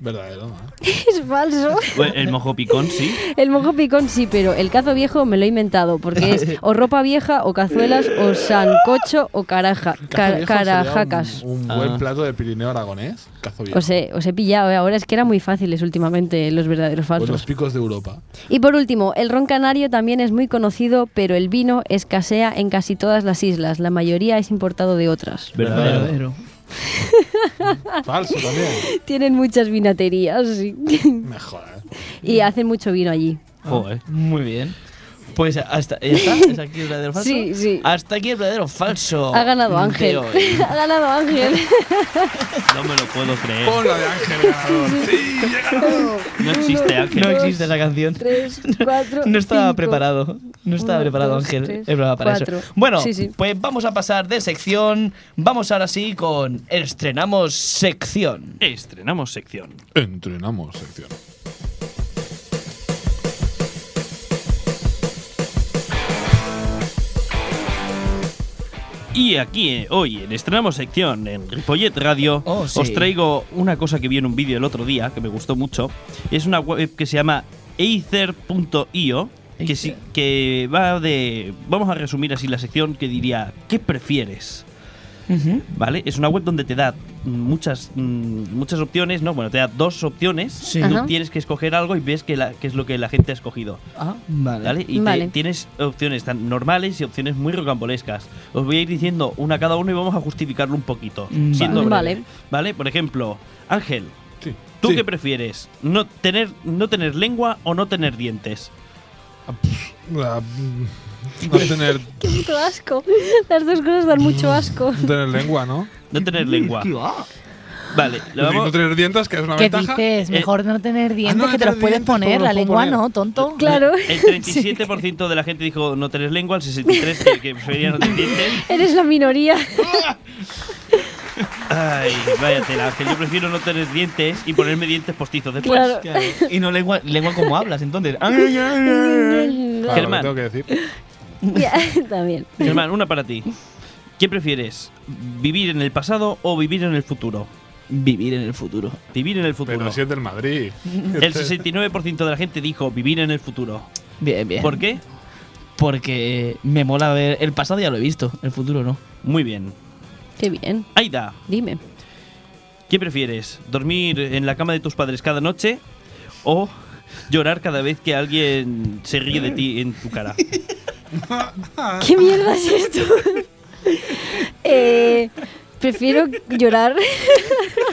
[SPEAKER 4] Verdadero, ¿no?
[SPEAKER 2] Es falso.
[SPEAKER 3] Bueno, El mojo picón, sí.
[SPEAKER 2] El mojo picón sí, pero el cazo viejo me lo he inventado porque es o ropa vieja, o cazuelas, o sancocho, o caraja,
[SPEAKER 4] Cazo
[SPEAKER 2] ca-
[SPEAKER 4] viejo
[SPEAKER 2] carajacas.
[SPEAKER 4] sería Un, un
[SPEAKER 3] Ah.
[SPEAKER 4] buen plato de Pirineo Aragonés. Cazo viejo.
[SPEAKER 2] Os he, os he pillado, ¿eh? ahora es que eran muy fáciles últimamente los verdaderos
[SPEAKER 4] Por los
[SPEAKER 2] falsos.
[SPEAKER 4] picos de Europa.
[SPEAKER 2] Y por último, el ron canario también es muy conocido, pero el vino escasea en casi todas las islas, la mayoría es importado de otras.
[SPEAKER 3] Verdadero.
[SPEAKER 4] Falso también.
[SPEAKER 2] Tienen muchas vinaterías sí.
[SPEAKER 4] Me jodas.
[SPEAKER 2] y hacen mucho vino allí.
[SPEAKER 3] Joder.
[SPEAKER 1] Muy bien. Pues hasta ya está. ¿Es aquí el verdadero falso?
[SPEAKER 2] Sí, sí.
[SPEAKER 1] Hasta aquí el verdadero falso.
[SPEAKER 2] Ha ganado
[SPEAKER 1] de
[SPEAKER 2] Ángel.
[SPEAKER 1] hoy.
[SPEAKER 2] ha ganado Ángel.
[SPEAKER 3] No me lo puedo creer.
[SPEAKER 4] Pon la de Ángel ganador. Sí, he ganado.
[SPEAKER 3] No existe Ángel.
[SPEAKER 1] No existe esa canción.
[SPEAKER 2] Tres, cuatro,
[SPEAKER 1] No estaba
[SPEAKER 2] cinco.
[SPEAKER 1] preparado. No estaba
[SPEAKER 2] Uno,
[SPEAKER 1] preparado,
[SPEAKER 2] dos,
[SPEAKER 1] Ángel.
[SPEAKER 2] tres,
[SPEAKER 1] Es verdad para
[SPEAKER 2] cuatro.
[SPEAKER 1] eso. Bueno,
[SPEAKER 2] Sí, sí.
[SPEAKER 1] pues vamos a pasar de sección. Vamos ahora sí con Estrenamos sección.
[SPEAKER 3] Estrenamos sección.
[SPEAKER 4] Entrenamos sección.
[SPEAKER 3] Y aquí, eh, hoy, en Estrenamos sección en Ripollet Radio,
[SPEAKER 1] Oh, sí.
[SPEAKER 3] os traigo una cosa que vi en un vídeo el otro día, que me gustó mucho. Es una web que se llama Aether.io, que,
[SPEAKER 1] Aether.
[SPEAKER 3] sí- que va de... Vamos a resumir así la sección que diría, ¿qué prefieres? ¿Vale? Es una web donde te da muchas, mm, muchas opciones, ¿no? Bueno, te da dos opciones.
[SPEAKER 1] Sí.
[SPEAKER 3] Tú
[SPEAKER 2] Ajá.
[SPEAKER 3] tienes que escoger algo y ves que, la- que es lo que la gente ha escogido.
[SPEAKER 1] Ah, vale.
[SPEAKER 3] ¿Vale? Y te-
[SPEAKER 2] Vale.
[SPEAKER 3] tienes opciones tan normales y opciones muy rocambolescas. Os voy a ir diciendo una cada uno y vamos a justificarlo un poquito.
[SPEAKER 1] Mm,
[SPEAKER 3] siendo breve.
[SPEAKER 2] Vale.
[SPEAKER 3] vale. Por ejemplo, Ángel,
[SPEAKER 4] Sí.
[SPEAKER 3] ¿tú
[SPEAKER 4] Sí.
[SPEAKER 3] qué prefieres? ¿No tener, ¿No tener lengua o no tener dientes?
[SPEAKER 4] Ah, mm, No tener,
[SPEAKER 2] Qué puto asco. Las dos cosas dan mucho asco.
[SPEAKER 4] no tener lengua, ¿no?
[SPEAKER 3] No tener lengua. Vale, lo
[SPEAKER 4] No
[SPEAKER 3] vamos...
[SPEAKER 4] tener dientes, que es una
[SPEAKER 5] ¿Qué
[SPEAKER 4] ventaja.
[SPEAKER 5] dices?
[SPEAKER 3] Eh,
[SPEAKER 5] Mejor no tener dientes
[SPEAKER 4] no
[SPEAKER 5] que te
[SPEAKER 4] tener
[SPEAKER 5] los puedes
[SPEAKER 4] dientes, pues
[SPEAKER 5] poner.
[SPEAKER 4] me
[SPEAKER 5] La
[SPEAKER 4] los puedo
[SPEAKER 5] lengua
[SPEAKER 4] poner.
[SPEAKER 5] no, tonto.
[SPEAKER 2] Claro.
[SPEAKER 3] El 37% de la gente dijo no tener lengua, el 63% que, que prefería no tener dientes.
[SPEAKER 2] Eres la minoría.
[SPEAKER 3] Ay, vaya tela, Ángel. Yo prefiero no tener dientes y ponerme dientes postizos después.
[SPEAKER 2] Claro.
[SPEAKER 1] Claro. Y no lengua, lengua como hablas, entonces.
[SPEAKER 4] Claro,
[SPEAKER 3] Germán.
[SPEAKER 4] lo que tengo que decir.
[SPEAKER 2] Ya, También.
[SPEAKER 3] Germán, una para ti. ¿Qué prefieres? ¿Vivir en el pasado o vivir en el futuro?
[SPEAKER 1] Vivir en el futuro.
[SPEAKER 3] Vivir en el futuro.
[SPEAKER 4] Pero si es del Madrid.
[SPEAKER 3] El 69% de la gente dijo vivir en el futuro.
[SPEAKER 1] Bien, bien.
[SPEAKER 3] ¿Por qué?
[SPEAKER 1] Porque me mola ver. El pasado ya lo he visto, el futuro no.
[SPEAKER 3] Muy bien.
[SPEAKER 2] Qué bien.
[SPEAKER 3] Aida,
[SPEAKER 2] Dime.
[SPEAKER 3] ¿qué prefieres? ¿Dormir en la cama de tus padres cada noche o llorar cada vez que alguien se ríe de ti en tu cara?
[SPEAKER 2] ¿Qué mierda es esto? Eh, prefiero llorar.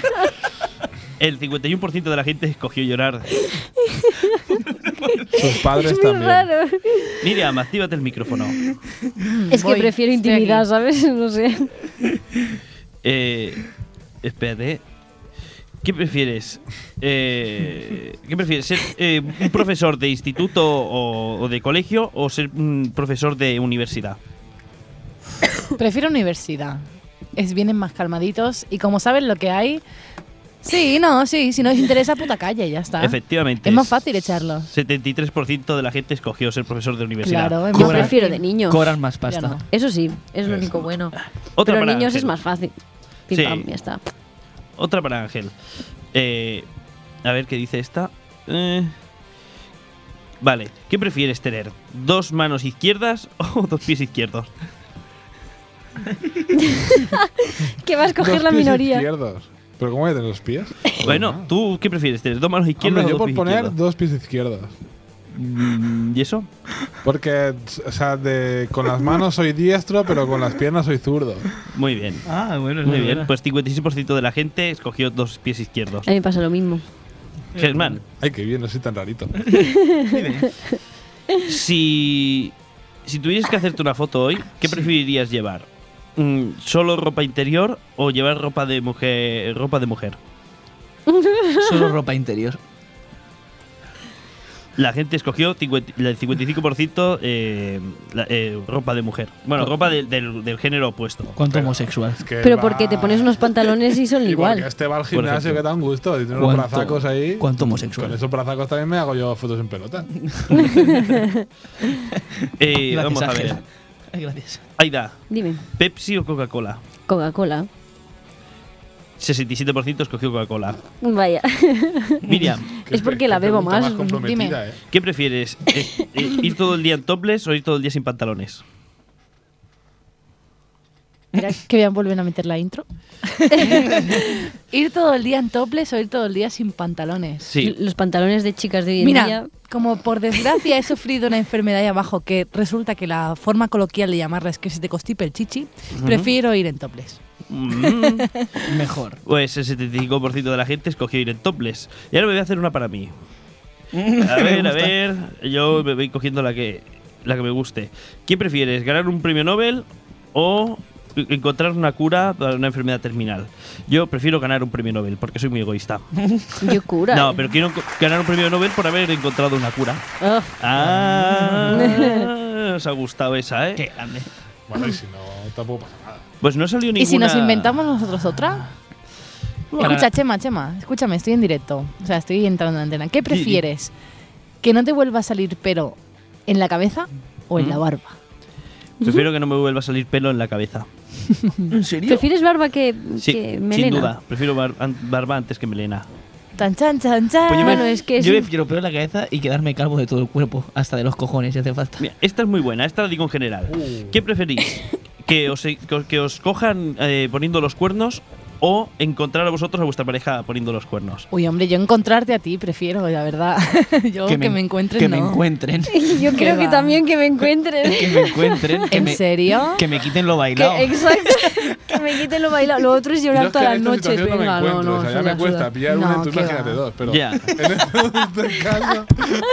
[SPEAKER 3] El 51% de la gente escogió llorar.
[SPEAKER 4] Sus
[SPEAKER 2] Es
[SPEAKER 4] padres
[SPEAKER 2] muy
[SPEAKER 4] también.
[SPEAKER 2] raro.
[SPEAKER 3] Miriam, actívate el micrófono.
[SPEAKER 2] Es que
[SPEAKER 5] Voy,
[SPEAKER 2] prefiero
[SPEAKER 5] estoy
[SPEAKER 2] intimidad,
[SPEAKER 5] aquí.
[SPEAKER 2] ¿sabes? No sé.
[SPEAKER 3] Eh, espérate. ¿eh? ¿Qué prefieres? Eh, ¿Qué prefieres? ¿Ser eh, un profesor de instituto o, o de colegio o ser un profesor de universidad?
[SPEAKER 5] Prefiero universidad. Es vienen más calmaditos y como saben lo que hay, Sí, no, sí. Si nos interesa, puta calle, ya está.
[SPEAKER 3] Efectivamente.
[SPEAKER 5] Es más fácil echarlo.
[SPEAKER 3] 73% de la gente escogió ser profesor de universidad.
[SPEAKER 5] Claro, es
[SPEAKER 2] Yo
[SPEAKER 5] más
[SPEAKER 2] prefiero
[SPEAKER 5] fácil.
[SPEAKER 2] de niños.
[SPEAKER 1] Cobran más pasta.
[SPEAKER 5] no.
[SPEAKER 2] Eso sí, es lo único bueno.
[SPEAKER 3] Otra
[SPEAKER 2] Pero
[SPEAKER 3] para
[SPEAKER 2] niños
[SPEAKER 3] Ángel.
[SPEAKER 2] es más fácil. Pim,
[SPEAKER 3] Sí.
[SPEAKER 2] pam, ya está.
[SPEAKER 3] Otra para Ángel. Eh, a ver qué dice esta. Eh, vale, ¿qué prefieres tener? ¿Dos manos izquierdas o dos pies izquierdos?
[SPEAKER 2] ¿Qué va a escoger
[SPEAKER 4] Dos
[SPEAKER 2] la
[SPEAKER 4] pies
[SPEAKER 2] minoría?
[SPEAKER 4] izquierdos. ¿Pero cómo voy a tener los pies?
[SPEAKER 3] Bueno, ¿tú qué prefieres tener? ¿Dos manos izquierdas
[SPEAKER 4] Eh, Hombre, yo
[SPEAKER 3] o dos
[SPEAKER 4] por
[SPEAKER 3] pies
[SPEAKER 4] poner
[SPEAKER 3] izquierdos?
[SPEAKER 4] dos pies izquierdos.
[SPEAKER 3] Mm, ¿Y eso?
[SPEAKER 4] Porque, o sea, de- con las manos soy diestro, pero con las piernas soy zurdo.
[SPEAKER 3] Muy bien.
[SPEAKER 1] Ah, bueno,
[SPEAKER 3] Muy bien, pues 56% de la gente escogió dos pies izquierdos.
[SPEAKER 2] A mí me pasa lo mismo.
[SPEAKER 3] Germán,
[SPEAKER 4] Ay, qué bien, no soy tan rarito.
[SPEAKER 3] si, si tuvieras que hacerte una foto hoy, ¿qué preferirías llevar? Mm, ¿Solo ropa interior o llevar ropa de mujer? Ropa de mujer?
[SPEAKER 1] Solo ropa interior.
[SPEAKER 3] La gente escogió 50 el 55% eh, la- eh, ropa de mujer. Bueno, ropa del- del, del género opuesto.
[SPEAKER 1] ¿Cuánto homosexual?
[SPEAKER 4] Es que
[SPEAKER 2] Pero
[SPEAKER 4] va-
[SPEAKER 2] porque te pones unos pantalones y son
[SPEAKER 4] Y porque
[SPEAKER 2] igual.
[SPEAKER 4] este va al
[SPEAKER 3] Por
[SPEAKER 4] gimnasio
[SPEAKER 3] ejemplo.
[SPEAKER 4] que da un gusto. Y tiene unos
[SPEAKER 1] ¿Cuánto-
[SPEAKER 4] brazacos ahí.
[SPEAKER 1] cuánto
[SPEAKER 4] Con
[SPEAKER 1] homosexual?
[SPEAKER 4] esos brazacos también me hago yo fotos en pelota.
[SPEAKER 3] Eh,
[SPEAKER 1] Gracias,
[SPEAKER 3] vamos a
[SPEAKER 1] Ángel.
[SPEAKER 3] ver.
[SPEAKER 1] Ay, gracias.
[SPEAKER 3] Aida,
[SPEAKER 2] Dime,
[SPEAKER 3] ¿Pepsi o Coca-Cola?
[SPEAKER 2] Coca-Cola.
[SPEAKER 3] 67% escogió Coca-Cola.
[SPEAKER 2] Vaya.
[SPEAKER 3] Miriam,
[SPEAKER 4] Qué
[SPEAKER 2] Es porque
[SPEAKER 4] pre-
[SPEAKER 2] la
[SPEAKER 4] qué
[SPEAKER 2] bebo
[SPEAKER 4] pregunta
[SPEAKER 2] más,
[SPEAKER 4] comprometida, eh.
[SPEAKER 3] ¿qué prefieres? ¿Es- eh, ¿Ir todo el día en topless o ir todo el día sin pantalones?
[SPEAKER 5] Espera, que voy a volver a meter la intro. ir todo el día en toples o ir todo el día sin pantalones.
[SPEAKER 3] Sí.
[SPEAKER 2] Los pantalones de chicas de hoy en
[SPEAKER 5] Mira,
[SPEAKER 2] día.
[SPEAKER 5] como por desgracia he sufrido una enfermedad ahí abajo que resulta que la forma coloquial de llamarla es que se te constipe el chichi, prefiero ir en toples.
[SPEAKER 3] Mm.
[SPEAKER 1] Mejor.
[SPEAKER 3] Pues el 75% de la gente escogió ir en topless. Y ahora me voy a hacer una para mí. A ver, a ver. Yo me voy cogiendo la que, la que me guste. ¿Qué prefieres? ¿Ganar un premio Nobel o encontrar una cura para una enfermedad terminal? Yo prefiero ganar un premio Nobel porque soy muy egoísta.
[SPEAKER 2] Yo cura.
[SPEAKER 3] No, pero quiero enco- ganar un premio Nobel por haber encontrado una cura.
[SPEAKER 2] Ah,
[SPEAKER 3] Ah, os ha gustado esa, ¿eh?
[SPEAKER 1] Qué grande.
[SPEAKER 4] Bueno, y si no, tampoco pasa nada.
[SPEAKER 3] Pues no salió ninguna.
[SPEAKER 5] ¿Y si nos inventamos nosotros otra?
[SPEAKER 3] Para-
[SPEAKER 5] Escucha, Chema, Chema, escúchame, estoy en directo. O sea, estoy entrando en antena. ¿Qué
[SPEAKER 3] di.
[SPEAKER 5] prefieres? ¿Que no te vuelva a salir pelo en la cabeza o en la barba?
[SPEAKER 3] Prefiero que no me vuelva a salir pelo en la cabeza.
[SPEAKER 5] Mm.
[SPEAKER 1] ¿En serio?
[SPEAKER 2] ¿Prefieres barba que,
[SPEAKER 3] Sí,
[SPEAKER 2] que
[SPEAKER 3] sin
[SPEAKER 2] melena?
[SPEAKER 3] duda. Prefiero bar- an- barba antes que melena.
[SPEAKER 5] Tan, chan, chan, chan.
[SPEAKER 1] Pues yo me-
[SPEAKER 2] Bueno, es que
[SPEAKER 1] Yo
[SPEAKER 2] sí.
[SPEAKER 1] me quiero peor la cabeza y quedarme calvo de todo el cuerpo, hasta de los cojones, si hace falta.
[SPEAKER 3] Mira, esta es muy buena, esta la digo en general. ¿Qué preferís? ¿Que os, que os- que os cojan eh, poniendo los cuernos o encontrar a vosotros a vuestra pareja poniendo los cuernos?
[SPEAKER 5] Uy, hombre, yo encontrarte a ti prefiero, la verdad. yo que me, encuentren,
[SPEAKER 1] Que
[SPEAKER 5] no.
[SPEAKER 1] me encuentren.
[SPEAKER 2] Yo creo
[SPEAKER 5] Qué
[SPEAKER 2] que
[SPEAKER 5] va.
[SPEAKER 2] también que me encuentren.
[SPEAKER 1] que me encuentren. Que
[SPEAKER 5] ¿En
[SPEAKER 1] me,
[SPEAKER 5] serio?
[SPEAKER 1] que me quiten lo
[SPEAKER 2] Que-
[SPEAKER 1] bailado.
[SPEAKER 2] exacto. que me quiten lo bailado. Lo otro es
[SPEAKER 4] Yo
[SPEAKER 2] llorar
[SPEAKER 4] es que
[SPEAKER 2] todas las
[SPEAKER 4] en esta
[SPEAKER 2] noches.
[SPEAKER 4] situación no me
[SPEAKER 2] Venga, no,
[SPEAKER 4] encuentro,
[SPEAKER 2] no.
[SPEAKER 4] o sea, ya
[SPEAKER 2] suda,
[SPEAKER 4] me cuesta
[SPEAKER 2] suda.
[SPEAKER 4] pillar una,
[SPEAKER 5] No,
[SPEAKER 4] tú
[SPEAKER 5] qué
[SPEAKER 4] imagínate
[SPEAKER 5] va.
[SPEAKER 4] dos, pero
[SPEAKER 3] Ya.
[SPEAKER 4] en este caso,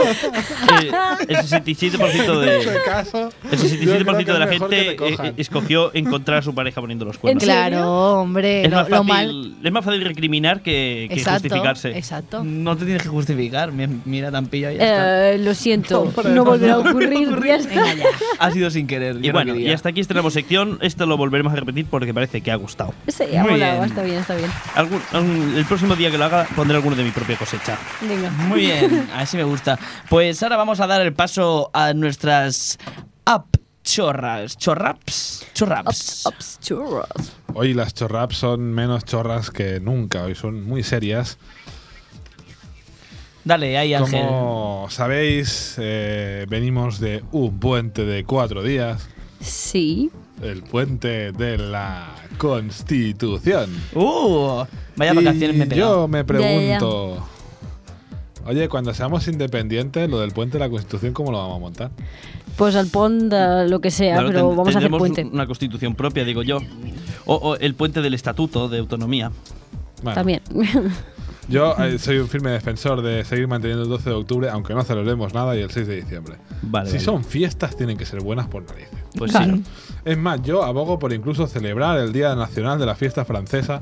[SPEAKER 3] Eh, el 67%
[SPEAKER 4] en este
[SPEAKER 3] de,
[SPEAKER 4] caso,
[SPEAKER 3] el 67% de la gente eh, eh,
[SPEAKER 4] es
[SPEAKER 3] escogió encontrar a su pareja poniendo los cuernos.
[SPEAKER 2] ¿En
[SPEAKER 5] Claro,
[SPEAKER 2] serio?
[SPEAKER 5] hombre,
[SPEAKER 3] Es
[SPEAKER 5] lo,
[SPEAKER 3] más,
[SPEAKER 5] lo
[SPEAKER 3] fácil,
[SPEAKER 5] mal.
[SPEAKER 3] es más fácil recriminar que, que
[SPEAKER 5] exacto,
[SPEAKER 3] justificarse.
[SPEAKER 5] exacto.
[SPEAKER 1] No te tienes que justificar. mi- Mira tan pilla y ya está.
[SPEAKER 2] Eh, lo siento,
[SPEAKER 4] Hombre,
[SPEAKER 2] no,
[SPEAKER 4] no,
[SPEAKER 2] volverá a
[SPEAKER 4] no, no
[SPEAKER 2] ocurrir. ya está.
[SPEAKER 5] Venga ya.
[SPEAKER 1] Ha sido sin querer.
[SPEAKER 3] Y bueno, y hasta aquí estrenamos sección. Esto lo volveremos a repetir porque parece que ha gustado.
[SPEAKER 2] Sí, ha
[SPEAKER 1] Muy
[SPEAKER 2] molado,
[SPEAKER 1] bien.
[SPEAKER 2] está bien, está bien.
[SPEAKER 3] Algún- algún- el próximo día que lo haga pondré alguno de mi propia cosecha.
[SPEAKER 2] Venga.
[SPEAKER 1] Muy bien, así me gusta. Pues ahora vamos a dar el paso a nuestras app chorras. Chorraps. Chorraps.
[SPEAKER 2] Ups, ups, churros.
[SPEAKER 4] Hoy las chorraps son menos chorras que nunca, hoy son muy serias.
[SPEAKER 1] Dale, ahí Ángel.
[SPEAKER 4] Como sabéis, eh, venimos de un puente de cuatro días,
[SPEAKER 2] Sí.
[SPEAKER 4] el puente de la Constitución.
[SPEAKER 1] Uh, vaya vacaciones
[SPEAKER 4] Y
[SPEAKER 1] me he pegado.
[SPEAKER 4] Yo me
[SPEAKER 2] ya, ya.
[SPEAKER 4] pregunto, oye, cuando seamos independientes, lo del puente de la Constitución, ¿cómo lo vamos a montar?
[SPEAKER 2] Pues al pont, eh, lo que sea,
[SPEAKER 3] Claro,
[SPEAKER 2] pero
[SPEAKER 3] ten-
[SPEAKER 2] vamos a hacer
[SPEAKER 3] tendremos
[SPEAKER 2] puente.
[SPEAKER 3] Una constitución propia, digo yo. O, o el puente del Estatuto de Autonomía.
[SPEAKER 4] Bueno,
[SPEAKER 2] También.
[SPEAKER 4] Yo eh, soy un firme defensor de seguir manteniendo el 12 de octubre, aunque no celebremos nada, y el 6 de diciembre.
[SPEAKER 3] Vale.
[SPEAKER 4] si
[SPEAKER 3] vale.
[SPEAKER 4] son fiestas, tienen que ser buenas por narices.
[SPEAKER 3] Pues
[SPEAKER 2] Claro.
[SPEAKER 3] sí.
[SPEAKER 4] Es más, yo abogo por incluso celebrar el Día Nacional de la Fiesta Francesa,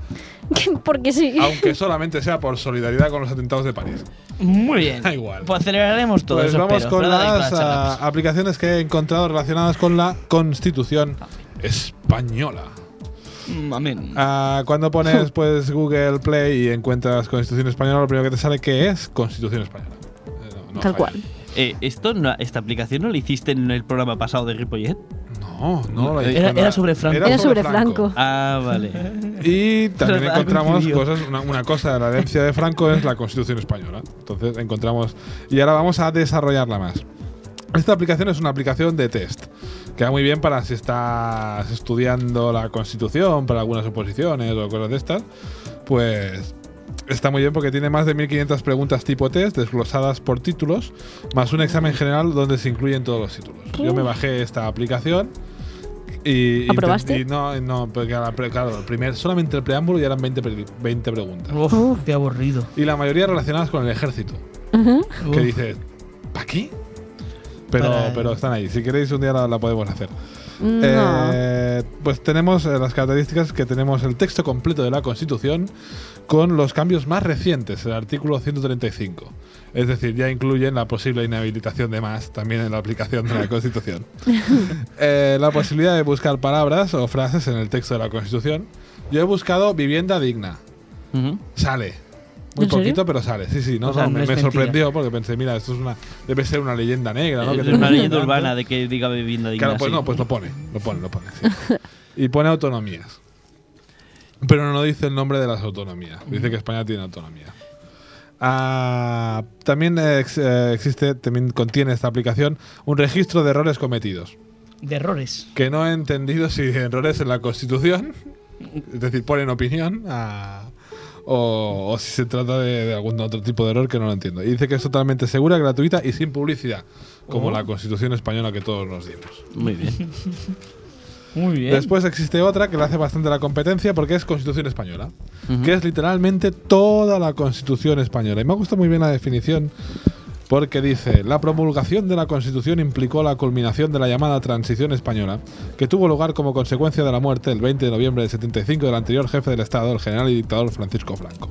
[SPEAKER 2] Porque sí.
[SPEAKER 3] Ah,
[SPEAKER 4] aunque solamente sea por solidaridad con los atentados de París.
[SPEAKER 1] Muy bien.
[SPEAKER 4] Da igual.
[SPEAKER 1] Pues celebraremos todo
[SPEAKER 4] Pues
[SPEAKER 1] eso.
[SPEAKER 4] vamos
[SPEAKER 1] espero.
[SPEAKER 4] con
[SPEAKER 1] Pero dale
[SPEAKER 4] las
[SPEAKER 1] las
[SPEAKER 4] ah,
[SPEAKER 1] chorraps.
[SPEAKER 4] aplicaciones que he encontrado relacionadas con la Constitución española.
[SPEAKER 8] Mm, Amén.
[SPEAKER 4] Ah, cuando pones pues Google Play y encuentras Constitución Española, lo primero que te sale que es Constitución Española. Eh, no, no
[SPEAKER 5] Tal
[SPEAKER 4] falla.
[SPEAKER 5] cual.
[SPEAKER 3] Eh, esto no- ¿Esta aplicación no la hiciste en el programa pasado de Ripollet?
[SPEAKER 4] No, no. la
[SPEAKER 8] Era-
[SPEAKER 4] izquierda-
[SPEAKER 1] era sobre Franco.
[SPEAKER 2] eh, Era sobre Franco.
[SPEAKER 3] Ah, vale.
[SPEAKER 4] Y también
[SPEAKER 1] Verdad,
[SPEAKER 4] encontramos
[SPEAKER 1] coincidió.
[SPEAKER 4] cosas, una, una cosa de la herencia de Franco es la Constitución Española. Entonces encontramos, y ahora vamos a desarrollarla más. Esta aplicación es una aplicación de test. Queda muy bien para si estás estudiando la Constitución, para algunas oposiciones o cosas de estas. Pues está muy bien porque tiene más de 1500 preguntas tipo test desglosadas por títulos, más un examen general donde se incluyen todos los títulos. Yo me bajé esta aplicación. Y,
[SPEAKER 2] ¿Aprobaste?
[SPEAKER 4] y no, no, porque a la pre- claro, el primer, solamente el preámbulo ya eran 20, pre- 20 preguntas.
[SPEAKER 1] Uf, qué aburrido.
[SPEAKER 4] Y la mayoría relacionadas con el ejército. Que
[SPEAKER 1] Uf.
[SPEAKER 4] dices, ¿para qué? Pero,
[SPEAKER 1] Para-
[SPEAKER 4] pero están ahí. Si queréis, un día la, la podemos hacer.
[SPEAKER 2] No.
[SPEAKER 4] Eh, pues tenemos eh, las características que tenemos el texto completo de la Constitución con los cambios más recientes, el artículo 135. Es decir, ya incluyen la posible inhabilitación de más también en la aplicación de la Constitución. Eh, la posibilidad de buscar palabras o frases en el texto de la Constitución. Yo he buscado vivienda digna.
[SPEAKER 3] Ujú.
[SPEAKER 4] Sale. Muy
[SPEAKER 2] ¿En serio?
[SPEAKER 4] poquito, pero sale. Sí, sí, no,
[SPEAKER 1] O sea,
[SPEAKER 4] no,
[SPEAKER 1] no
[SPEAKER 4] me,
[SPEAKER 1] es
[SPEAKER 4] me
[SPEAKER 1] mentira.
[SPEAKER 4] sorprendió porque pensé, mira, esto es una, debe ser una leyenda negra, ¿no? Que
[SPEAKER 3] Es
[SPEAKER 4] tenemos
[SPEAKER 3] una leyenda
[SPEAKER 4] delante.
[SPEAKER 3] urbana de que diga vivienda digna.
[SPEAKER 4] Claro, pues
[SPEAKER 3] sí.
[SPEAKER 4] no, pues lo pone, lo pone, lo pone. sí. y pone autonomías. Pero no dice el nombre de las autonomías. Dice que España tiene autonomía. Ah, también eh, ex- eh, existe, también contiene esta aplicación un registro de errores cometidos.
[SPEAKER 1] De errores.
[SPEAKER 4] Que no he entendido si errores en la Constitución, es decir, ponen opinión, ah, o, o si se trata de, de algún otro tipo de error que no lo entiendo. Y dice que es totalmente segura, gratuita y sin publicidad, como la Constitución española que todos nos dimos.
[SPEAKER 3] Muy bien.
[SPEAKER 1] Muy bien.
[SPEAKER 4] Después existe otra que le hace bastante la competencia porque es Constitución Española, que es literalmente toda la Constitución Española. Y me ha gustado muy bien la definición porque dice, la promulgación de la Constitución implicó la culminación de la llamada Transición Española, que tuvo lugar como consecuencia de la muerte el 20 de noviembre del 75 del anterior jefe del Estado, el general y dictador Francisco Franco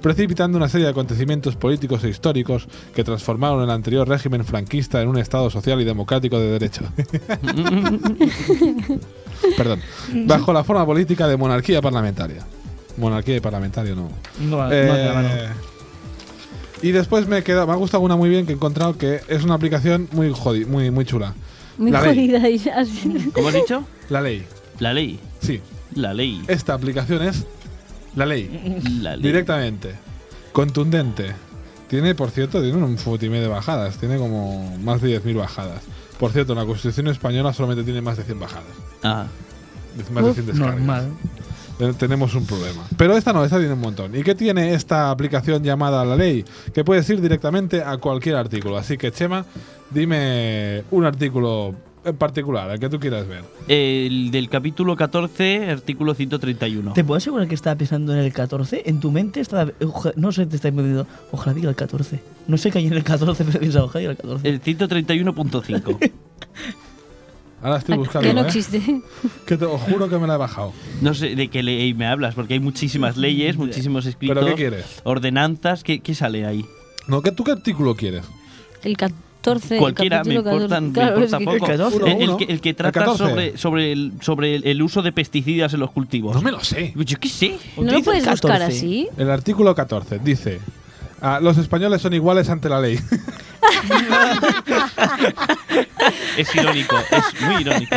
[SPEAKER 4] precipitando una serie de acontecimientos políticos e históricos que transformaron el anterior régimen franquista en un Estado social y democrático de derecho. Perdón. Bajo la forma política de monarquía parlamentaria. Monarquía y parlamentario no.
[SPEAKER 1] No, no,
[SPEAKER 4] Eh,
[SPEAKER 1] de la mano.
[SPEAKER 4] y después me queda, me ha gustado una muy bien que he encontrado que es una aplicación muy jodi- muy, muy chula.
[SPEAKER 2] Muy
[SPEAKER 4] la ley.
[SPEAKER 2] jodida y ya, así.
[SPEAKER 3] ¿Cómo has dicho?
[SPEAKER 4] La ley.
[SPEAKER 3] La ley.
[SPEAKER 4] Sí.
[SPEAKER 3] La ley.
[SPEAKER 4] Esta aplicación es la ley.
[SPEAKER 3] La ley.
[SPEAKER 4] Directamente. Contundente. Tiene, por cierto, tiene un futimé de bajadas. Tiene como más de 10.000 bajadas. Por cierto, la Constitución española solamente tiene más de 100 bajadas.
[SPEAKER 3] Ah,
[SPEAKER 4] Más de 100 descargas.
[SPEAKER 1] Normal.
[SPEAKER 4] Eh, Tenemos un problema. Pero esta no, esta tiene un montón. ¿Y qué tiene esta aplicación llamada La Ley? Que puedes ir directamente a cualquier artículo. Así que, Chema, dime un artículo en particular, el que tú quieras ver.
[SPEAKER 3] el del capítulo 14, artículo 131.
[SPEAKER 1] ¿Te puedo asegurar que estaba pensando en el 14? En tu mente estaba. eh, oja- no sé, te está inventando. Ojalá diga el 14. No sé qué hay en el 14, pero he pensado, ojalá diga el 14.
[SPEAKER 3] El 131.5.
[SPEAKER 4] Ahora estoy buscando.
[SPEAKER 2] que no
[SPEAKER 4] ¿eh?
[SPEAKER 2] existe.
[SPEAKER 4] Que te os juro que me la he bajado.
[SPEAKER 3] No sé de qué ley me hablas, porque hay muchísimas leyes, muchísimos escritos.
[SPEAKER 4] ¿Pero qué quieres?
[SPEAKER 3] Ordenanzas, ¿qué, qué sale ahí?
[SPEAKER 4] No, ¿qué, ¿Tú qué artículo quieres?
[SPEAKER 2] El 14. el
[SPEAKER 3] Cualquiera, me
[SPEAKER 2] capítulo 14.
[SPEAKER 3] importan- me
[SPEAKER 2] Claro,
[SPEAKER 3] importa
[SPEAKER 2] es que-
[SPEAKER 3] poco.
[SPEAKER 1] El 14.
[SPEAKER 3] El, el que, el que
[SPEAKER 4] El
[SPEAKER 3] trata
[SPEAKER 4] 14.
[SPEAKER 3] sobre, sobre, el, sobre el- el uso de pesticidas en los cultivos.
[SPEAKER 4] No me lo sé.
[SPEAKER 3] Yo qué sé.
[SPEAKER 2] ¿No lo
[SPEAKER 1] Utiliza el
[SPEAKER 2] puedes buscar
[SPEAKER 1] 14.
[SPEAKER 2] así?
[SPEAKER 4] El artículo 14 dice: "Ah, Los españoles son iguales ante la ley.
[SPEAKER 3] Es irónico, es muy irónico.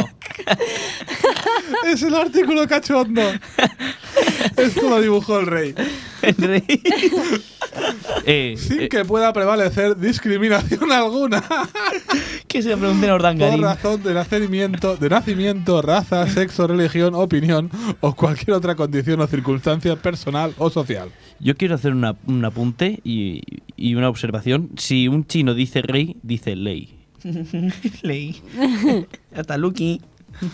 [SPEAKER 4] es el artículo cachondo. Esto lo dibujó el rey.
[SPEAKER 3] Eh,
[SPEAKER 4] Sin
[SPEAKER 3] eh,
[SPEAKER 4] que pueda prevalecer discriminación alguna
[SPEAKER 1] que se pregunten a
[SPEAKER 4] por
[SPEAKER 1] Ordangarín.
[SPEAKER 4] razón de nacimiento, de nacimiento, raza, sexo, religión, opinión o cualquier otra condición o circunstancia personal o social.
[SPEAKER 3] yo quiero hacer una- un apunte y, y una observación. Si un chino dice rey, dice ley.
[SPEAKER 1] Leí. Hasta Lucky.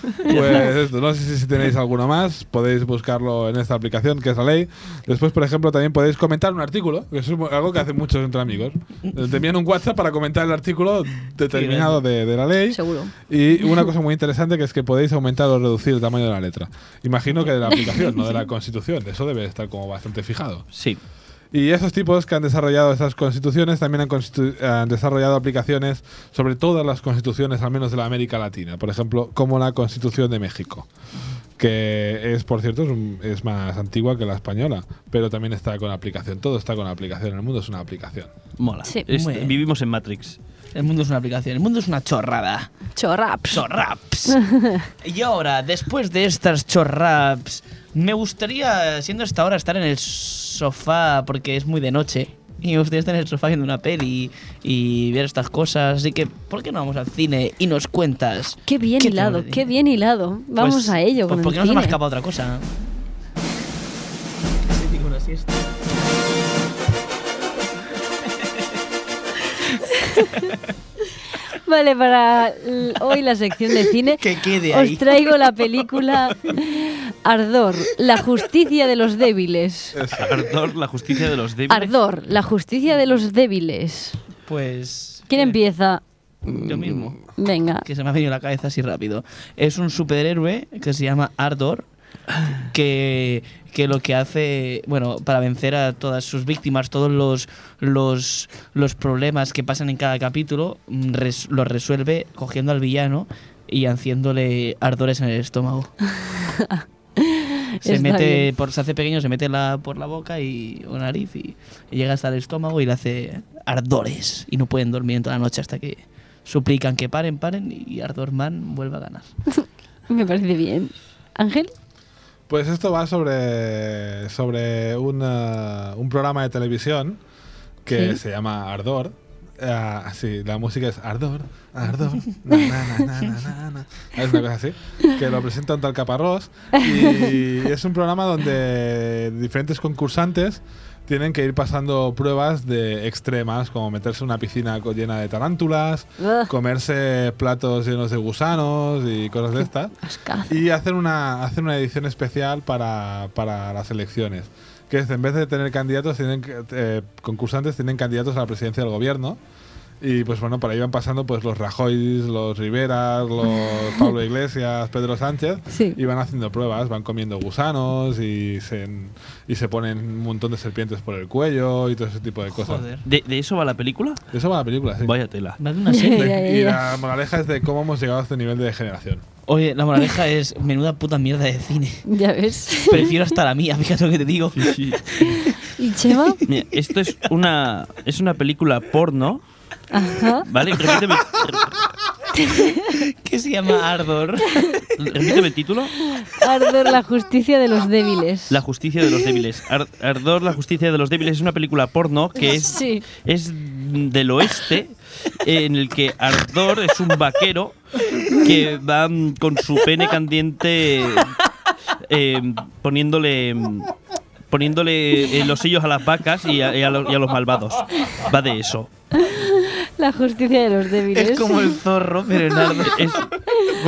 [SPEAKER 4] Pues esto, no sé si tenéis alguno más, podéis buscarlo en esta aplicación que es la ley. Después, por ejemplo, también podéis comentar un artículo, que eso es algo que hacen muchos entre amigos. Eh, Te envían un WhatsApp para comentar el artículo determinado de, de la ley.
[SPEAKER 2] Seguro.
[SPEAKER 4] Y una cosa muy interesante que es que podéis aumentar o reducir el tamaño de la letra. Imagino que de la aplicación, no de la constitución, eso debe estar como bastante fijado.
[SPEAKER 3] Sí.
[SPEAKER 4] Y esos tipos que han desarrollado estas constituciones también han, constitu- han desarrollado aplicaciones sobre todas las constituciones, al menos de la América Latina. Por ejemplo, como la Constitución de México, que es, por cierto, es, un- es más antigua que la española, pero también está con aplicación. Todo está con aplicación. El mundo es una aplicación.
[SPEAKER 3] Mola.
[SPEAKER 2] Sí.
[SPEAKER 3] Es-
[SPEAKER 1] Muy bien.
[SPEAKER 3] vivimos en Matrix.
[SPEAKER 1] Este, El mundo es una aplicación, el mundo es una chorrada.
[SPEAKER 2] Chorraps.
[SPEAKER 1] Chorraps. y ahora, después de estas chorraps, me gustaría, siendo esta hora, estar en el sofá porque es muy de noche. Y me gustaría estar en el sofá viendo una peli y ver estas cosas. Así que, ¿por qué no vamos al cine y nos cuentas?
[SPEAKER 2] Qué bien
[SPEAKER 1] ¿Qué te
[SPEAKER 2] hilado,
[SPEAKER 1] parece?
[SPEAKER 2] qué bien hilado. Vamos
[SPEAKER 1] Pues-
[SPEAKER 2] a ello.
[SPEAKER 1] Pues
[SPEAKER 2] con
[SPEAKER 1] porque
[SPEAKER 2] el
[SPEAKER 1] no se me
[SPEAKER 2] cine.
[SPEAKER 1] escapa otra cosa.
[SPEAKER 2] Vale, para l- hoy la sección de cine
[SPEAKER 1] Que quede ahí.
[SPEAKER 2] os traigo la película Ardor, la justicia de los débiles.
[SPEAKER 3] Ardor, la justicia de los débiles.
[SPEAKER 2] Ardor, la justicia de los débiles.
[SPEAKER 1] Pues.
[SPEAKER 2] ¿Quién empieza?
[SPEAKER 1] Yo mismo.
[SPEAKER 2] Venga.
[SPEAKER 1] que se me ha venido a la cabeza así rápido. Es un superhéroe que se llama Ardor, que, que lo que hace, bueno, para vencer a todas sus víctimas, todos los, los, los problemas que pasan en cada capítulo, mm, res- los resuelve cogiendo al villano y haciéndole ardores en el estómago. Se
[SPEAKER 2] Está
[SPEAKER 1] mete
[SPEAKER 2] bien.
[SPEAKER 1] por, se hace pequeño, se mete la, por la boca y o nariz y, y llega hasta el estómago y le hace ardores y no pueden dormir en toda la noche hasta que suplican que paren, paren y Ardorman vuelve a ganar.
[SPEAKER 2] Me parece bien. Ángel,
[SPEAKER 4] Pues esto va sobre, sobre una- un programa de televisión que
[SPEAKER 2] Sí.
[SPEAKER 4] se llama Ardor. Ah, sí, la música es Ardor, Ardor, na, na, na, na, na, na. Es una cosa así. Que lo presenta un tal Caparrós. Y es un programa donde diferentes concursantes tienen que ir pasando pruebas de extremas, como meterse en una piscina co- llena de tarántulas,
[SPEAKER 2] Ugh.
[SPEAKER 4] comerse platos llenos de gusanos y cosas de estas.
[SPEAKER 2] ascazo.
[SPEAKER 4] Y hacen una, hacen una edición especial para, para las elecciones. Que es, en vez de tener candidatos, tienen que- eh, concursantes tienen candidatos a la presidencia del gobierno. Y pues bueno, por ahí van pasando pues los Rajoys, los Riveras, los Pablo Iglesias, Pedro Sánchez.
[SPEAKER 2] Sí.
[SPEAKER 4] Y van haciendo pruebas, van comiendo gusanos y se, y se ponen un montón de serpientes por el cuello y todo ese tipo de cosas.
[SPEAKER 1] Joder.
[SPEAKER 3] ¿De, de eso va la película?
[SPEAKER 4] Eso va a la película, sí.
[SPEAKER 3] Vaya tela.
[SPEAKER 1] Me hace una serie.
[SPEAKER 2] Ya, ya,
[SPEAKER 4] Y
[SPEAKER 2] ya.
[SPEAKER 4] la moraleja es de cómo hemos llegado a este nivel de degeneración.
[SPEAKER 1] Oye, la moraleja es menuda puta mierda de cine.
[SPEAKER 2] Ya ves.
[SPEAKER 1] Prefiero hasta la mía, fíjate lo que te digo.
[SPEAKER 2] ¿Y Chema?
[SPEAKER 3] Mira, esto es una, es una película porno,
[SPEAKER 2] Ajá.
[SPEAKER 3] ¿vale? Repíteme,
[SPEAKER 1] Que se llama Ardor.
[SPEAKER 3] repíteme el título.
[SPEAKER 2] Ardor, la justicia de los débiles.
[SPEAKER 3] La justicia de los débiles. Ar- Ardor, la justicia de los débiles es una película porno que es,
[SPEAKER 2] Sí.
[SPEAKER 3] es del oeste, en el que Ardor es un vaquero que va mm, con su pene candiente eh, poniéndole poniéndole eh, los hillos a las vacas y a, y a los, y a los malvados. Va de eso.
[SPEAKER 2] La justicia de los débiles.
[SPEAKER 1] Es como el zorro, pero en Ardor.
[SPEAKER 3] Es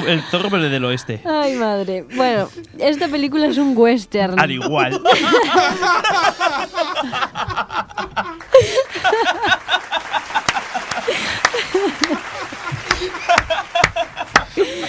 [SPEAKER 3] el zorro pero del oeste.
[SPEAKER 2] Ay, madre. Bueno, esta película es un western.
[SPEAKER 1] Ah,
[SPEAKER 3] Al igual.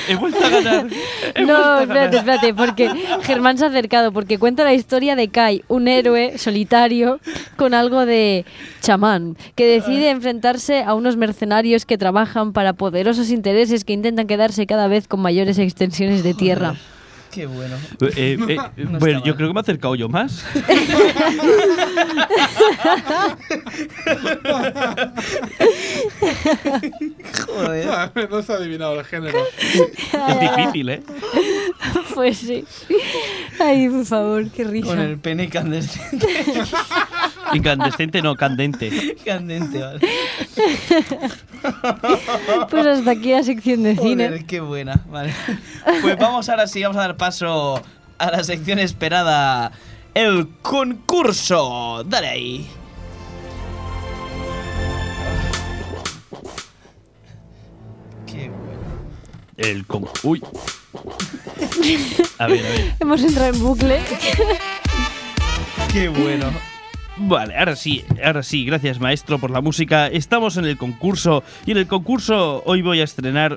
[SPEAKER 3] He vuelto a ganar. He vuelto
[SPEAKER 2] No,
[SPEAKER 3] a
[SPEAKER 2] espérate,
[SPEAKER 3] ganar.
[SPEAKER 2] espérate, porque Germán se ha acercado, porque cuenta la historia de Kai, un héroe solitario con algo de chamán, que decide enfrentarse a unos mercenarios que trabajan para poderosos intereses que intentan quedarse cada vez con mayores extensiones de tierra.
[SPEAKER 1] Qué bueno.
[SPEAKER 3] Eh, eh, eh,
[SPEAKER 1] No
[SPEAKER 3] bueno,
[SPEAKER 1] está
[SPEAKER 3] yo
[SPEAKER 1] mal.
[SPEAKER 3] creo que me he acercado yo más.
[SPEAKER 1] Joder.
[SPEAKER 4] no se ha adivinado el género.
[SPEAKER 3] Es difícil, ¿eh?
[SPEAKER 2] Pues sí. Ay, por favor, qué
[SPEAKER 1] Con
[SPEAKER 2] risa.
[SPEAKER 1] el pene candente.
[SPEAKER 3] Incandescente, no, candente.
[SPEAKER 1] candente vale.
[SPEAKER 2] Pues hasta aquí la sección de cine.
[SPEAKER 1] Joder, qué buena. Vale. Pues vamos ahora sí, vamos a dar paso a la sección esperada. El concurso. Dale ahí. Qué bueno.
[SPEAKER 3] El como. Uy. A ver, a ver.
[SPEAKER 2] Hemos entrado en bucle.
[SPEAKER 1] Qué bueno.
[SPEAKER 3] Vale, ahora sí, ahora sí, gracias maestro por la música. Estamos en el concurso y en el concurso hoy voy a estrenar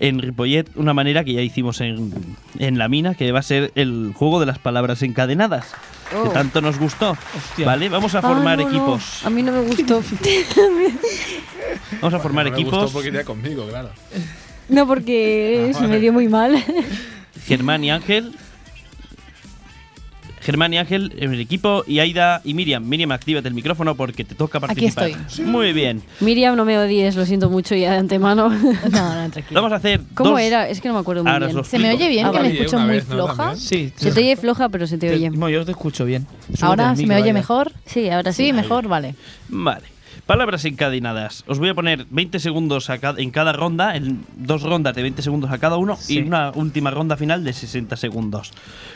[SPEAKER 3] en Ripollet una manera que ya hicimos en, en la mina, que va a ser el juego de las palabras encadenadas, que tanto nos gustó.
[SPEAKER 1] Hostia.
[SPEAKER 3] Vale, vamos a formar
[SPEAKER 2] Oh. Ay, Ah, no, no.
[SPEAKER 3] equipos.
[SPEAKER 2] A mí no me gustó.
[SPEAKER 3] Vamos a formar
[SPEAKER 4] No me
[SPEAKER 3] equipos.
[SPEAKER 4] gustó porque iría conmigo, claro.
[SPEAKER 2] No, porque
[SPEAKER 4] Ah,
[SPEAKER 2] se me
[SPEAKER 4] vale.
[SPEAKER 2] dio muy mal.
[SPEAKER 3] Germán y Ángel, Germán y Ángel en el equipo y Aida y Miriam. Miriam, actívate el micrófono porque te toca
[SPEAKER 5] Aquí
[SPEAKER 3] participar. Muy bien.
[SPEAKER 2] Miriam, no me odies, lo siento mucho ya de antemano.
[SPEAKER 5] No, no, tranquilo.
[SPEAKER 3] Vamos a hacer
[SPEAKER 2] ¿Cómo
[SPEAKER 3] dos-
[SPEAKER 2] era? Es que no me acuerdo muy
[SPEAKER 3] Ahora os
[SPEAKER 2] bien.
[SPEAKER 3] lo
[SPEAKER 5] ¿Se me
[SPEAKER 3] explico.
[SPEAKER 5] oye bien?
[SPEAKER 2] Ah,
[SPEAKER 5] que
[SPEAKER 2] vale.
[SPEAKER 5] me escucho
[SPEAKER 4] Una
[SPEAKER 5] muy
[SPEAKER 4] vez, ¿no?
[SPEAKER 5] floja.
[SPEAKER 4] También.
[SPEAKER 1] Sí,
[SPEAKER 2] Se te oye floja, pero se te oye.
[SPEAKER 1] No, yo te escucho bien. Súbete
[SPEAKER 5] ¿Ahora
[SPEAKER 1] al
[SPEAKER 5] se
[SPEAKER 1] micro,
[SPEAKER 5] me oye
[SPEAKER 1] Aida.
[SPEAKER 5] mejor?
[SPEAKER 2] Sí, ahora sí.
[SPEAKER 5] Sí, mejor, vale.
[SPEAKER 3] Vale. Palabras encadenadas. Os voy a poner 20 segundos a ca- en cada ronda, en dos rondas de 20 segundos a cada uno
[SPEAKER 1] Sí.
[SPEAKER 3] y una última ronda final de 60 segundos.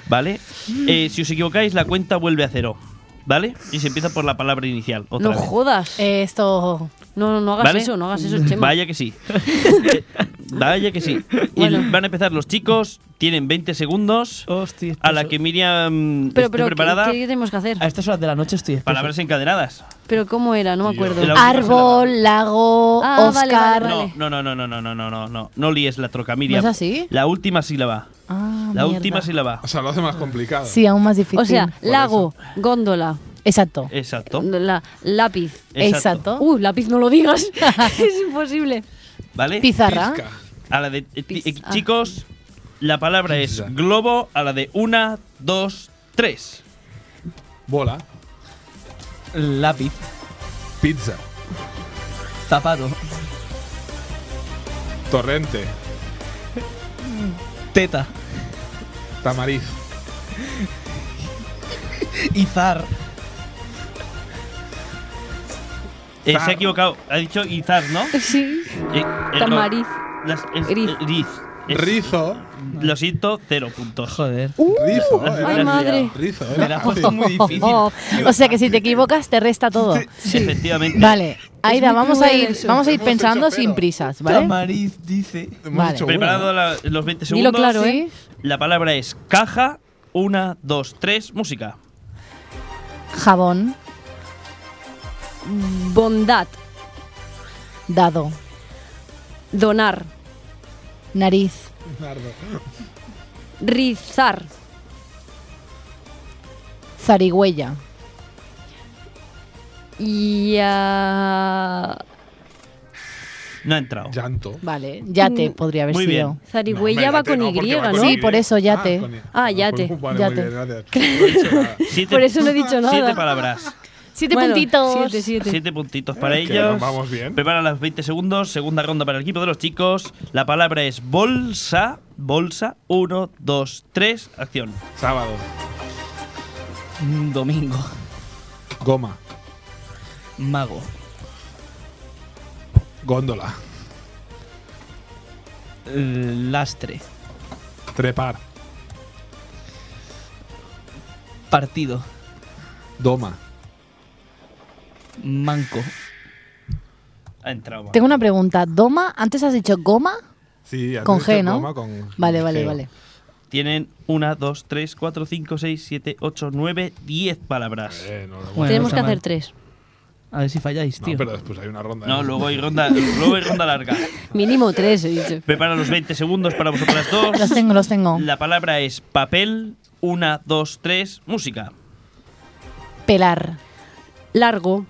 [SPEAKER 3] ¿Vale? Eh, si os equivocáis, la cuenta vuelve a cero. ¿Vale? Y se empieza por la palabra inicial. Otra
[SPEAKER 2] No
[SPEAKER 3] vez.
[SPEAKER 2] jodas.
[SPEAKER 5] Eh, Esto.
[SPEAKER 2] no, no, no hagas
[SPEAKER 3] ¿Vale? Mm,
[SPEAKER 2] eso, no hagas eso, Chema.
[SPEAKER 3] Vaya que sí. Vaya que sí. Y
[SPEAKER 2] Bueno.
[SPEAKER 3] van a empezar los chicos, tienen 20 segundos.
[SPEAKER 1] Hostia,
[SPEAKER 3] A la que Miriam
[SPEAKER 2] pero,
[SPEAKER 3] esté
[SPEAKER 2] pero, ¿qué-
[SPEAKER 3] preparada.
[SPEAKER 2] ¿qué, tenemos que hacer?
[SPEAKER 1] A estas horas de la noche estoy espeso.
[SPEAKER 3] Palabras encadenadas.
[SPEAKER 2] Pero ¿cómo era? No me
[SPEAKER 4] Tío.
[SPEAKER 2] acuerdo.
[SPEAKER 3] El
[SPEAKER 5] Ah,
[SPEAKER 3] audio-
[SPEAKER 5] Árbol, lago,
[SPEAKER 2] Ah, vale,
[SPEAKER 5] Oscar.
[SPEAKER 2] vale,
[SPEAKER 3] No, no, no, no, no, no, no, no, no. No líes la troca,
[SPEAKER 5] ¿No
[SPEAKER 3] Miriam.
[SPEAKER 5] es así?
[SPEAKER 3] La última sílaba.
[SPEAKER 5] Ah,
[SPEAKER 3] La
[SPEAKER 5] mierda.
[SPEAKER 3] última sílaba.
[SPEAKER 4] O sea, lo hace más complicado.
[SPEAKER 5] Sí, aún más difícil.
[SPEAKER 2] O sea, lago, góndola,
[SPEAKER 5] Exacto.
[SPEAKER 3] eh, Exacto.
[SPEAKER 2] la, lápiz.
[SPEAKER 5] Exacto.
[SPEAKER 2] Uh, lápiz no lo digas. es imposible.
[SPEAKER 3] ¿Vale?
[SPEAKER 5] Pizarra.
[SPEAKER 4] Pizca.
[SPEAKER 3] A la de eh, ti- eh,
[SPEAKER 2] Pizza.
[SPEAKER 3] chicos, la palabra es
[SPEAKER 4] Pizza.
[SPEAKER 3] globo a la de una, dos, tres.
[SPEAKER 4] Bola.
[SPEAKER 1] Lápiz,
[SPEAKER 4] Pizza.
[SPEAKER 1] zapato,
[SPEAKER 4] Torrente.
[SPEAKER 1] teta,
[SPEAKER 4] Tamariz.
[SPEAKER 1] izar,
[SPEAKER 3] Eh, se
[SPEAKER 4] Zar.
[SPEAKER 3] ha equivocado, ha dicho izar, ¿no?
[SPEAKER 2] Sí.
[SPEAKER 3] Eh, error.
[SPEAKER 2] Tamariz.
[SPEAKER 3] Las- es-
[SPEAKER 2] Riz.
[SPEAKER 3] eh, riz. Es-
[SPEAKER 4] Rizo.
[SPEAKER 3] Lo siento, cero puntos.
[SPEAKER 1] joder.
[SPEAKER 5] Uh,
[SPEAKER 4] Rizo.
[SPEAKER 3] Ay,
[SPEAKER 4] era-
[SPEAKER 2] madre.
[SPEAKER 4] Rizo.
[SPEAKER 1] Me
[SPEAKER 4] Era
[SPEAKER 1] la has puesto
[SPEAKER 4] fácil.
[SPEAKER 1] muy difícil.
[SPEAKER 5] Oh, o sea que si te equivocas te resta todo.
[SPEAKER 3] Efectivamente.
[SPEAKER 5] Vale, Aida,
[SPEAKER 2] muy
[SPEAKER 5] vamos a
[SPEAKER 2] cruel
[SPEAKER 5] ir,
[SPEAKER 2] eso.
[SPEAKER 5] vamos a ir
[SPEAKER 4] Hemos hecho
[SPEAKER 5] pensando sin
[SPEAKER 4] pero.
[SPEAKER 5] prisas, ¿vale?
[SPEAKER 1] Tamariz dice.
[SPEAKER 4] Hemos
[SPEAKER 5] Vale.
[SPEAKER 4] hecho una.
[SPEAKER 3] Preparado la- los 20
[SPEAKER 2] Dilo
[SPEAKER 3] segundos.
[SPEAKER 2] claro, ¿eh?
[SPEAKER 3] La palabra es caja, una, dos, tres, música.
[SPEAKER 5] Jabón,
[SPEAKER 2] Bondad,
[SPEAKER 5] dado,
[SPEAKER 2] donar,
[SPEAKER 5] nariz,
[SPEAKER 4] Nardo.
[SPEAKER 2] rizar,
[SPEAKER 5] zarigüeya,
[SPEAKER 2] y... ah,
[SPEAKER 3] No ha entrado.
[SPEAKER 4] Llanto.
[SPEAKER 5] vale, yate
[SPEAKER 2] Mm,
[SPEAKER 5] podría haber
[SPEAKER 3] muy
[SPEAKER 5] sido.
[SPEAKER 3] bien.
[SPEAKER 2] zarigüeya va con Y, ¿no?
[SPEAKER 5] con Sí, por eso yate.
[SPEAKER 2] Ah,
[SPEAKER 4] Pues
[SPEAKER 2] yate,
[SPEAKER 5] yate.
[SPEAKER 4] te.
[SPEAKER 3] Siete,
[SPEAKER 2] Por eso no he dicho nada.
[SPEAKER 3] Siete palabras.
[SPEAKER 5] Siete
[SPEAKER 2] Bueno,
[SPEAKER 5] puntitos.
[SPEAKER 2] Siete, siete.
[SPEAKER 3] Siete puntitos para
[SPEAKER 4] Que
[SPEAKER 3] ellos.
[SPEAKER 4] nos vamos bien.
[SPEAKER 3] Prepara las 20 segundos. Segunda ronda para el equipo de los chicos. La palabra es bolsa. Bolsa. Uno, dos, tres. Acción.
[SPEAKER 4] Sábado.
[SPEAKER 1] Mm, Domingo,
[SPEAKER 4] Goma.
[SPEAKER 1] mago,
[SPEAKER 4] Góndola.
[SPEAKER 1] lastre,
[SPEAKER 4] Trepar.
[SPEAKER 1] partido,
[SPEAKER 4] Doma.
[SPEAKER 1] manco,
[SPEAKER 3] Ha entrado.
[SPEAKER 5] Tengo una pregunta, ¿doma? ¿Antes has dicho goma?
[SPEAKER 4] Sí, has
[SPEAKER 5] Con
[SPEAKER 4] dicho
[SPEAKER 5] G, ¿no?
[SPEAKER 4] goma con
[SPEAKER 5] Vale, vale,
[SPEAKER 4] G.
[SPEAKER 5] vale.
[SPEAKER 3] Tienen una, dos, tres, cuatro, cinco, seis, siete, ocho, nueve, diez palabras.
[SPEAKER 4] Eh, no, no,
[SPEAKER 1] Bueno,
[SPEAKER 2] Tenemos
[SPEAKER 1] está
[SPEAKER 2] que hacer
[SPEAKER 1] mal.
[SPEAKER 2] tres.
[SPEAKER 1] A ver si falláis,
[SPEAKER 4] no,
[SPEAKER 1] tío.
[SPEAKER 4] pero después hay una ronda.
[SPEAKER 3] No,
[SPEAKER 4] ¿eh?
[SPEAKER 3] luego hay ronda, luego hay ronda larga.
[SPEAKER 2] Mínimo tres, he dicho.
[SPEAKER 3] Prepara los 20 segundos para vosotras dos.
[SPEAKER 5] Los tengo, los tengo.
[SPEAKER 3] La palabra es papel. Una, dos, tres, música.
[SPEAKER 5] Pelar,
[SPEAKER 2] Largo,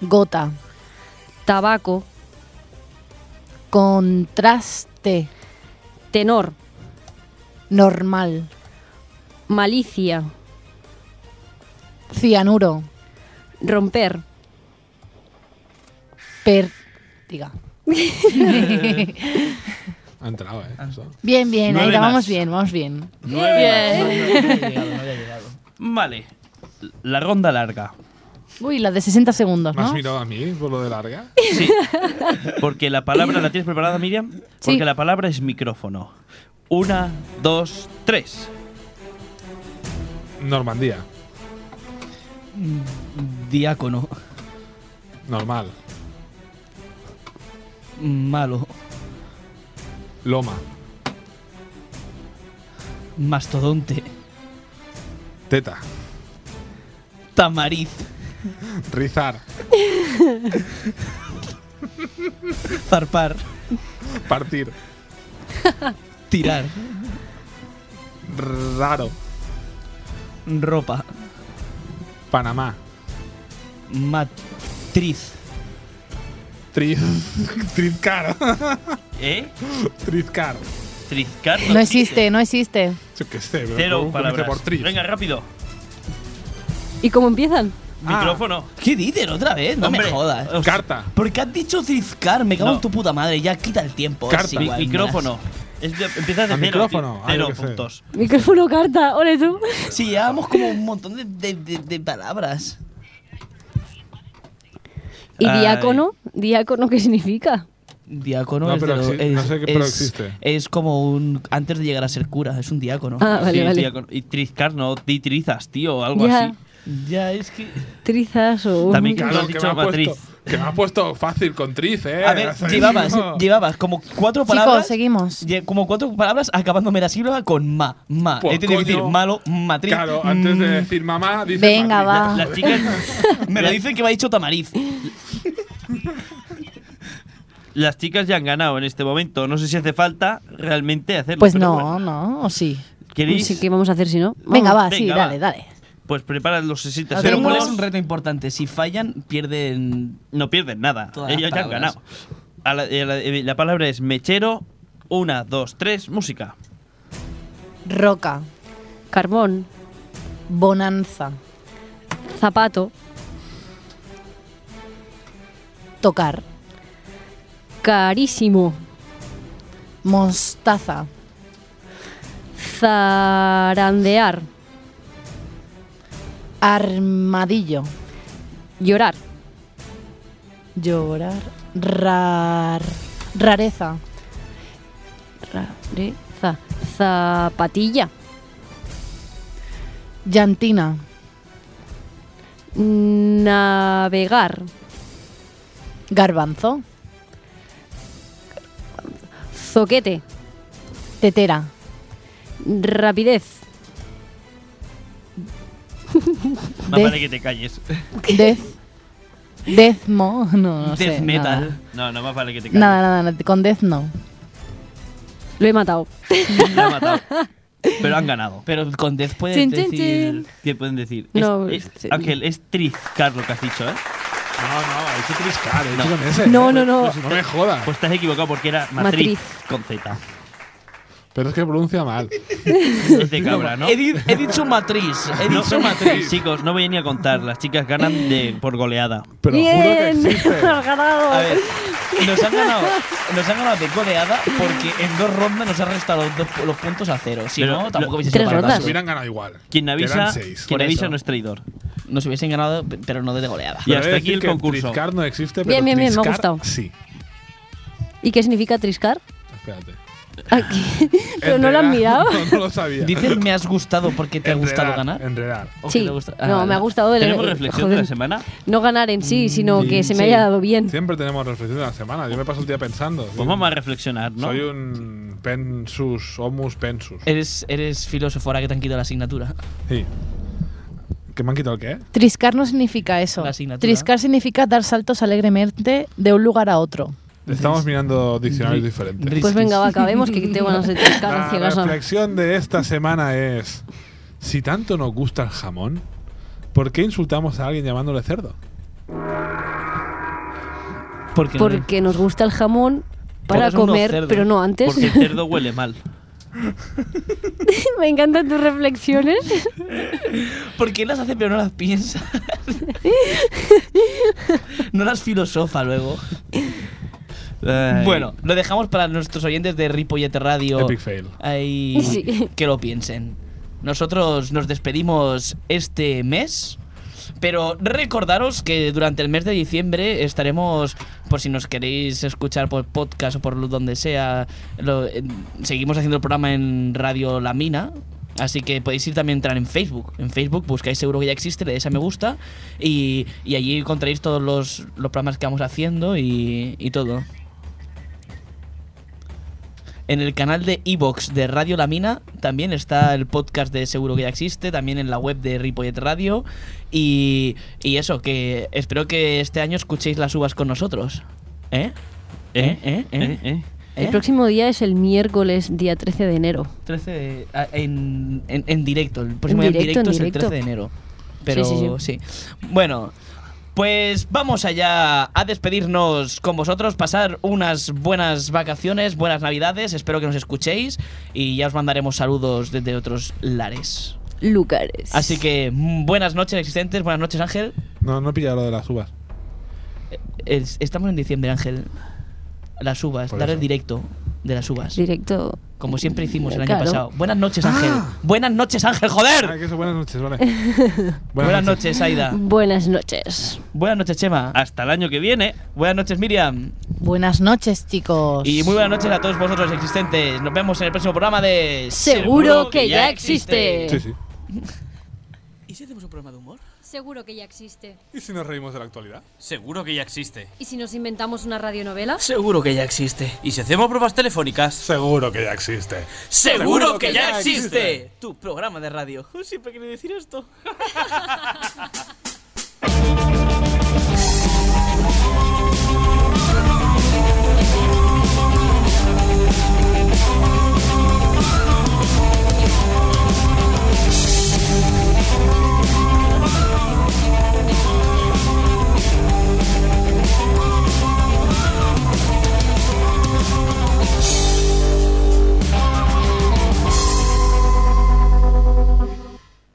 [SPEAKER 5] gota,
[SPEAKER 2] tabaco,
[SPEAKER 5] contraste,
[SPEAKER 2] tenor,
[SPEAKER 5] normal,
[SPEAKER 2] malicia,
[SPEAKER 5] cianuro,
[SPEAKER 2] romper,
[SPEAKER 5] per... Diga.
[SPEAKER 4] Ha entrado, ¿eh?
[SPEAKER 3] Ah.
[SPEAKER 4] Eso.
[SPEAKER 5] Bien, bien,
[SPEAKER 3] Nueve
[SPEAKER 5] Aida,
[SPEAKER 3] más.
[SPEAKER 5] vamos bien, vamos bien.
[SPEAKER 3] Vale. La ronda larga.
[SPEAKER 5] Uy, la de 60 segundos,
[SPEAKER 4] ¿Me has
[SPEAKER 5] ¿no?
[SPEAKER 4] mirado a mí por lo de larga?
[SPEAKER 3] Sí. Porque la palabra, ¿la tienes preparada, Miriam? Porque la palabra es micrófono. Una, dos, tres.
[SPEAKER 4] Normandía.
[SPEAKER 1] Diácono,
[SPEAKER 4] Normal.
[SPEAKER 1] malo,
[SPEAKER 4] Loma.
[SPEAKER 1] mastodonte,
[SPEAKER 4] Teta.
[SPEAKER 1] tamariz,
[SPEAKER 4] Rizar.
[SPEAKER 1] zarpar,
[SPEAKER 4] Partir.
[SPEAKER 1] tirar,
[SPEAKER 4] Raro.
[SPEAKER 1] ropa,
[SPEAKER 4] Panamá.
[SPEAKER 1] matriz,
[SPEAKER 4] Triz. Trizcar.
[SPEAKER 3] ¿Eh?
[SPEAKER 4] Trizcar.
[SPEAKER 3] Trizcar
[SPEAKER 5] No existe, no existe.
[SPEAKER 4] Yo qué sé, pero
[SPEAKER 3] Cero
[SPEAKER 4] por-
[SPEAKER 3] palabras.
[SPEAKER 4] por tris.
[SPEAKER 3] Venga, rápido.
[SPEAKER 2] ¿Y cómo empiezan?
[SPEAKER 4] Ah.
[SPEAKER 3] Micrófono.
[SPEAKER 1] ¿Qué dices otra vez? No me
[SPEAKER 3] Hombre.
[SPEAKER 1] jodas.
[SPEAKER 3] Os-
[SPEAKER 4] Carta.
[SPEAKER 1] ¿Por qué has dicho trizcar? Me cago
[SPEAKER 3] No.
[SPEAKER 1] en tu puta madre. Ya quita el tiempo.
[SPEAKER 4] Carta.
[SPEAKER 1] es
[SPEAKER 4] Mi-
[SPEAKER 3] Mi-
[SPEAKER 1] igual,
[SPEAKER 3] micrófono. Es de- empieza de
[SPEAKER 4] Ah,
[SPEAKER 3] cero,
[SPEAKER 4] micrófono.
[SPEAKER 3] ti-
[SPEAKER 4] Ah,
[SPEAKER 3] Cero
[SPEAKER 4] yo qué sé.
[SPEAKER 3] puntos.
[SPEAKER 2] Micrófono, carta, ole tú.
[SPEAKER 1] miras. Sí, llevamos como un montón de, de- de- de palabras.
[SPEAKER 2] ¿Y
[SPEAKER 3] Ay.
[SPEAKER 2] diácono? ¿Diácono qué significa?
[SPEAKER 1] Diácono
[SPEAKER 4] No,
[SPEAKER 1] es, de
[SPEAKER 4] pero
[SPEAKER 1] lo-
[SPEAKER 4] exi- no
[SPEAKER 1] es-
[SPEAKER 4] sé qué- pero
[SPEAKER 1] es-
[SPEAKER 4] existe.
[SPEAKER 1] es como un. Antes de llegar a ser cura, es un diácono.
[SPEAKER 2] Ah, vale,
[SPEAKER 3] Sí,
[SPEAKER 2] vale.
[SPEAKER 3] tía, con- y trizcar, no titrizas, tío, o algo
[SPEAKER 2] Ya.
[SPEAKER 3] así.
[SPEAKER 1] Ya, es que.
[SPEAKER 2] Trizas o.
[SPEAKER 3] También-
[SPEAKER 4] Claro,
[SPEAKER 3] Lo has
[SPEAKER 4] que
[SPEAKER 3] dicho
[SPEAKER 4] me ha
[SPEAKER 3] matriz.
[SPEAKER 4] puesto- Que me ha puesto fácil con triz, eh.
[SPEAKER 1] A ver,
[SPEAKER 4] ¿sabes?
[SPEAKER 1] llevabas, llevabas como cuatro palabras.
[SPEAKER 5] Chicos, seguimos.
[SPEAKER 1] lle- Como cuatro palabras acabándome la sílaba con ma, ma.
[SPEAKER 4] Pues,
[SPEAKER 1] He tenido que decir
[SPEAKER 4] coño.
[SPEAKER 1] malo, matriz.
[SPEAKER 4] Claro, antes de
[SPEAKER 1] mm,
[SPEAKER 4] decir mamá, dice
[SPEAKER 5] Venga,
[SPEAKER 4] matriz.
[SPEAKER 2] Ah.
[SPEAKER 5] va.
[SPEAKER 3] Las chicas,
[SPEAKER 1] Me lo dicen que me ha dicho tamariz.
[SPEAKER 3] las chicas ya han ganado en este momento. No sé si hace falta realmente hacerlo.
[SPEAKER 5] Pues
[SPEAKER 3] pero
[SPEAKER 5] no,
[SPEAKER 3] bueno.
[SPEAKER 5] no, o sí.
[SPEAKER 3] ¿Queréis?
[SPEAKER 2] Sí, ¿qué vamos a hacer si no?
[SPEAKER 5] Venga,
[SPEAKER 2] Vamos.
[SPEAKER 5] va, sí,
[SPEAKER 3] Venga, va.
[SPEAKER 5] dale, dale.
[SPEAKER 3] Pues preparan los 60
[SPEAKER 1] Pero
[SPEAKER 3] segundos.
[SPEAKER 1] pones un reto importante. Si fallan, pierden.
[SPEAKER 3] No pierden nada.
[SPEAKER 1] Todas las
[SPEAKER 3] Ellos ya han
[SPEAKER 1] palabras.
[SPEAKER 3] ganado. A la, eh, la- eh, la palabra es mechero. Una, dos, tres, música.
[SPEAKER 5] Roca,
[SPEAKER 2] Carbón,
[SPEAKER 5] bonanza,
[SPEAKER 2] zapato,
[SPEAKER 5] tocar,
[SPEAKER 2] carísimo,
[SPEAKER 5] mostaza,
[SPEAKER 2] zarandear,
[SPEAKER 5] armadillo,
[SPEAKER 2] llorar,
[SPEAKER 5] llorar, rar, rareza,
[SPEAKER 2] rareza, zapatilla,
[SPEAKER 5] llantina,
[SPEAKER 2] navegar,
[SPEAKER 5] garbanzo,
[SPEAKER 2] zoquete,
[SPEAKER 5] tetera,
[SPEAKER 2] rapidez,
[SPEAKER 3] Más
[SPEAKER 5] De-
[SPEAKER 3] vale que te calles.
[SPEAKER 5] dez, dezmo, no, no sé.
[SPEAKER 3] Death metal. No,
[SPEAKER 5] Nada.
[SPEAKER 3] no, más vale que te calles.
[SPEAKER 5] Nada, nada, nada, con dez no.
[SPEAKER 2] lo he matado.
[SPEAKER 3] La ha matado. Pero han ganado.
[SPEAKER 1] Pero con Death puedes
[SPEAKER 2] Chin, chin,
[SPEAKER 1] decir.
[SPEAKER 2] chin.
[SPEAKER 3] ¿Qué pueden decir?
[SPEAKER 2] No, pues,
[SPEAKER 3] es, es-
[SPEAKER 2] sí.
[SPEAKER 3] Ángel, es trizcar lo que has dicho, ¿eh?
[SPEAKER 4] No, no, hay que triscar, eh,
[SPEAKER 3] No.
[SPEAKER 4] chico, en ese,
[SPEAKER 2] No,
[SPEAKER 4] eh.
[SPEAKER 2] no, no.
[SPEAKER 4] No me jodas.
[SPEAKER 3] Pues estás equivocado porque era matriz,
[SPEAKER 2] Matriz.
[SPEAKER 3] con Z.
[SPEAKER 4] Pero es que pronuncia mal.
[SPEAKER 3] Es de cabra, ¿no?
[SPEAKER 1] He, di- he dicho matriz. He
[SPEAKER 3] No,
[SPEAKER 1] dicho matriz.
[SPEAKER 3] Chicos, no voy ni a contar. Las chicas ganan de, por goleada.
[SPEAKER 4] Pero juro que
[SPEAKER 2] Bien,
[SPEAKER 4] existe.
[SPEAKER 2] has ganado.
[SPEAKER 1] A ver, nos han ganado, nos han ganado de goleada porque en dos rondas nos han restado los, dos- los puntos a cero. Si
[SPEAKER 3] Pero
[SPEAKER 1] no, tampoco
[SPEAKER 3] lo-
[SPEAKER 1] hubiese
[SPEAKER 2] Tres
[SPEAKER 1] sido para
[SPEAKER 2] rondas.
[SPEAKER 1] tanto.
[SPEAKER 4] Hubieran ganado igual.
[SPEAKER 3] Quien avisa,
[SPEAKER 4] Quedan seis.
[SPEAKER 3] quien
[SPEAKER 1] Por
[SPEAKER 3] avisa
[SPEAKER 1] eso.
[SPEAKER 3] no es traidor.
[SPEAKER 1] Nos hubiesen ganado, pero no de goleada.
[SPEAKER 3] Y
[SPEAKER 4] Pero he
[SPEAKER 3] hasta
[SPEAKER 4] de
[SPEAKER 3] aquí
[SPEAKER 4] decir
[SPEAKER 3] el
[SPEAKER 4] que
[SPEAKER 3] concurso.
[SPEAKER 4] Triscar no existe, pero
[SPEAKER 2] Bien, bien, bien, me ha
[SPEAKER 4] triscar
[SPEAKER 2] gustado.
[SPEAKER 4] Sí.
[SPEAKER 2] ¿Y qué significa triscar?
[SPEAKER 4] Espérate.
[SPEAKER 2] Aquí. ¿Pero no lo han
[SPEAKER 4] Enredar.
[SPEAKER 2] mirado?
[SPEAKER 4] No, no lo sabía.
[SPEAKER 1] Dicen me has gustado porque te ha gustado
[SPEAKER 4] Enredar,
[SPEAKER 1] ganar.
[SPEAKER 4] Enredar.
[SPEAKER 1] ¿O que
[SPEAKER 2] Sí,
[SPEAKER 1] te gusta- ah,
[SPEAKER 2] no,
[SPEAKER 1] vale.
[SPEAKER 2] me ha gustado el,
[SPEAKER 3] ¿Tenemos
[SPEAKER 2] el-
[SPEAKER 3] reflexión de
[SPEAKER 2] joder,
[SPEAKER 3] la semana? Pues
[SPEAKER 2] no ganar en sí, sino
[SPEAKER 4] Mm,
[SPEAKER 2] que se me
[SPEAKER 1] sí.
[SPEAKER 2] haya dado bien.
[SPEAKER 4] Siempre tenemos reflexión de la semana. Yo me paso el día pensando.
[SPEAKER 3] Pues vamos a reflexionar, ¿no? Eh.
[SPEAKER 4] Soy un pensus, homus pensus.
[SPEAKER 1] Eres, eres filósofo ahora que te han quitado la asignatura.
[SPEAKER 4] Sí. ¿Que me han quitado el qué?
[SPEAKER 5] Triscar no significa eso.
[SPEAKER 1] La asignatura.
[SPEAKER 5] Triscar significa dar saltos alegremente de un lugar a otro.
[SPEAKER 4] Estamos mirando diccionarios diferentes.
[SPEAKER 1] Ris-
[SPEAKER 2] Pues venga, va, acabemos que tengo ganas de triscar a
[SPEAKER 4] La
[SPEAKER 2] ciegas.
[SPEAKER 4] Ah, reflexión de esta semana es: si tanto nos gusta el jamón, ¿por qué insultamos a alguien llamándole cerdo?
[SPEAKER 1] Porque no-
[SPEAKER 2] Porque nos gusta el jamón para
[SPEAKER 1] Todos unos
[SPEAKER 2] comer,
[SPEAKER 1] cerdos.
[SPEAKER 2] pero no antes.
[SPEAKER 3] Porque el cerdo huele mal.
[SPEAKER 2] me encantan tus reflexiones.
[SPEAKER 1] Porque las hace pero no las piensa. no las filosofa luego.
[SPEAKER 3] Ay.
[SPEAKER 1] Bueno, lo dejamos para nuestros oyentes de Ripollete Radio.
[SPEAKER 4] Epic fail.
[SPEAKER 1] Ahí
[SPEAKER 2] Sí.
[SPEAKER 1] que lo piensen. Nosotros nos despedimos este mes. Pero recordaros que durante el mes de diciembre estaremos, por si nos queréis escuchar por podcast o por lo- donde sea, lo- en- seguimos haciendo el programa en Radio La Mina. Así que podéis ir también a entrar en Facebook. En Facebook buscáis seguro que ya existe, le dais a me gusta y, y allí encontraréis todos los, los programas que vamos haciendo y, y todo. En el canal de Evox de Radio La Mina también está el podcast de Seguro que ya existe, también en la web de Ripollet Radio. Y, y eso, que espero que este año escuchéis las uvas con nosotros. ¿Eh?
[SPEAKER 3] ¿Eh?
[SPEAKER 1] ¿Eh?
[SPEAKER 3] ¿Eh?
[SPEAKER 1] ¿Eh?
[SPEAKER 3] ¿Eh?
[SPEAKER 2] El
[SPEAKER 1] ¿Eh?
[SPEAKER 2] próximo día es el miércoles, día 13 de enero.
[SPEAKER 1] 13 de- ah, en, en- en directo, el próximo día en
[SPEAKER 2] directo,
[SPEAKER 1] directo,
[SPEAKER 2] en
[SPEAKER 1] es el
[SPEAKER 2] directo.
[SPEAKER 1] 13 de enero. Pero
[SPEAKER 2] Sí,
[SPEAKER 1] sí. Bueno, Pues vamos allá a despedirnos con vosotros, pasar unas buenas vacaciones, buenas navidades, espero que nos escuchéis y ya os mandaremos saludos desde otros lares.
[SPEAKER 2] Lugares.
[SPEAKER 1] Así que mm, buenas noches existentes, buenas noches Ángel.
[SPEAKER 4] No, no he pillado lo de las uvas.
[SPEAKER 1] Es- estamos en diciembre Ángel. Las uvas,
[SPEAKER 4] Por
[SPEAKER 1] dar el
[SPEAKER 4] eso.
[SPEAKER 1] directo de las uvas.
[SPEAKER 2] Directo.
[SPEAKER 1] Como siempre hicimos el año
[SPEAKER 2] Claro.
[SPEAKER 1] pasado. Buenas noches Ángel.
[SPEAKER 4] Ah.
[SPEAKER 1] Buenas noches Ángel,
[SPEAKER 4] Ah,
[SPEAKER 1] joder.
[SPEAKER 4] que eso, buenas noches, vale.
[SPEAKER 1] Buenas, noches Aida.
[SPEAKER 2] Buenas noches.
[SPEAKER 1] Buenas noches Chema.
[SPEAKER 3] Hasta el año que viene.
[SPEAKER 1] Buenas noches Miriam.
[SPEAKER 5] Buenas noches, chicos.
[SPEAKER 1] Y muy buenas noches a todos vosotros existentes. Nos vemos en el próximo programa de
[SPEAKER 2] Seguro que ya existe.
[SPEAKER 4] Sí, sí.
[SPEAKER 6] ¿Y si hacemos un programa de humor?
[SPEAKER 7] Seguro que ya existe.
[SPEAKER 4] ¿Y si nos reímos de la actualidad?
[SPEAKER 6] Seguro que ya existe.
[SPEAKER 7] ¿Y si nos inventamos una radionovela?
[SPEAKER 6] Seguro que ya existe. ¿Y si hacemos pruebas telefónicas?
[SPEAKER 4] Seguro que ya existe.
[SPEAKER 6] Seguro que ya existe. Tu programa de radio. Siempre quería decir esto.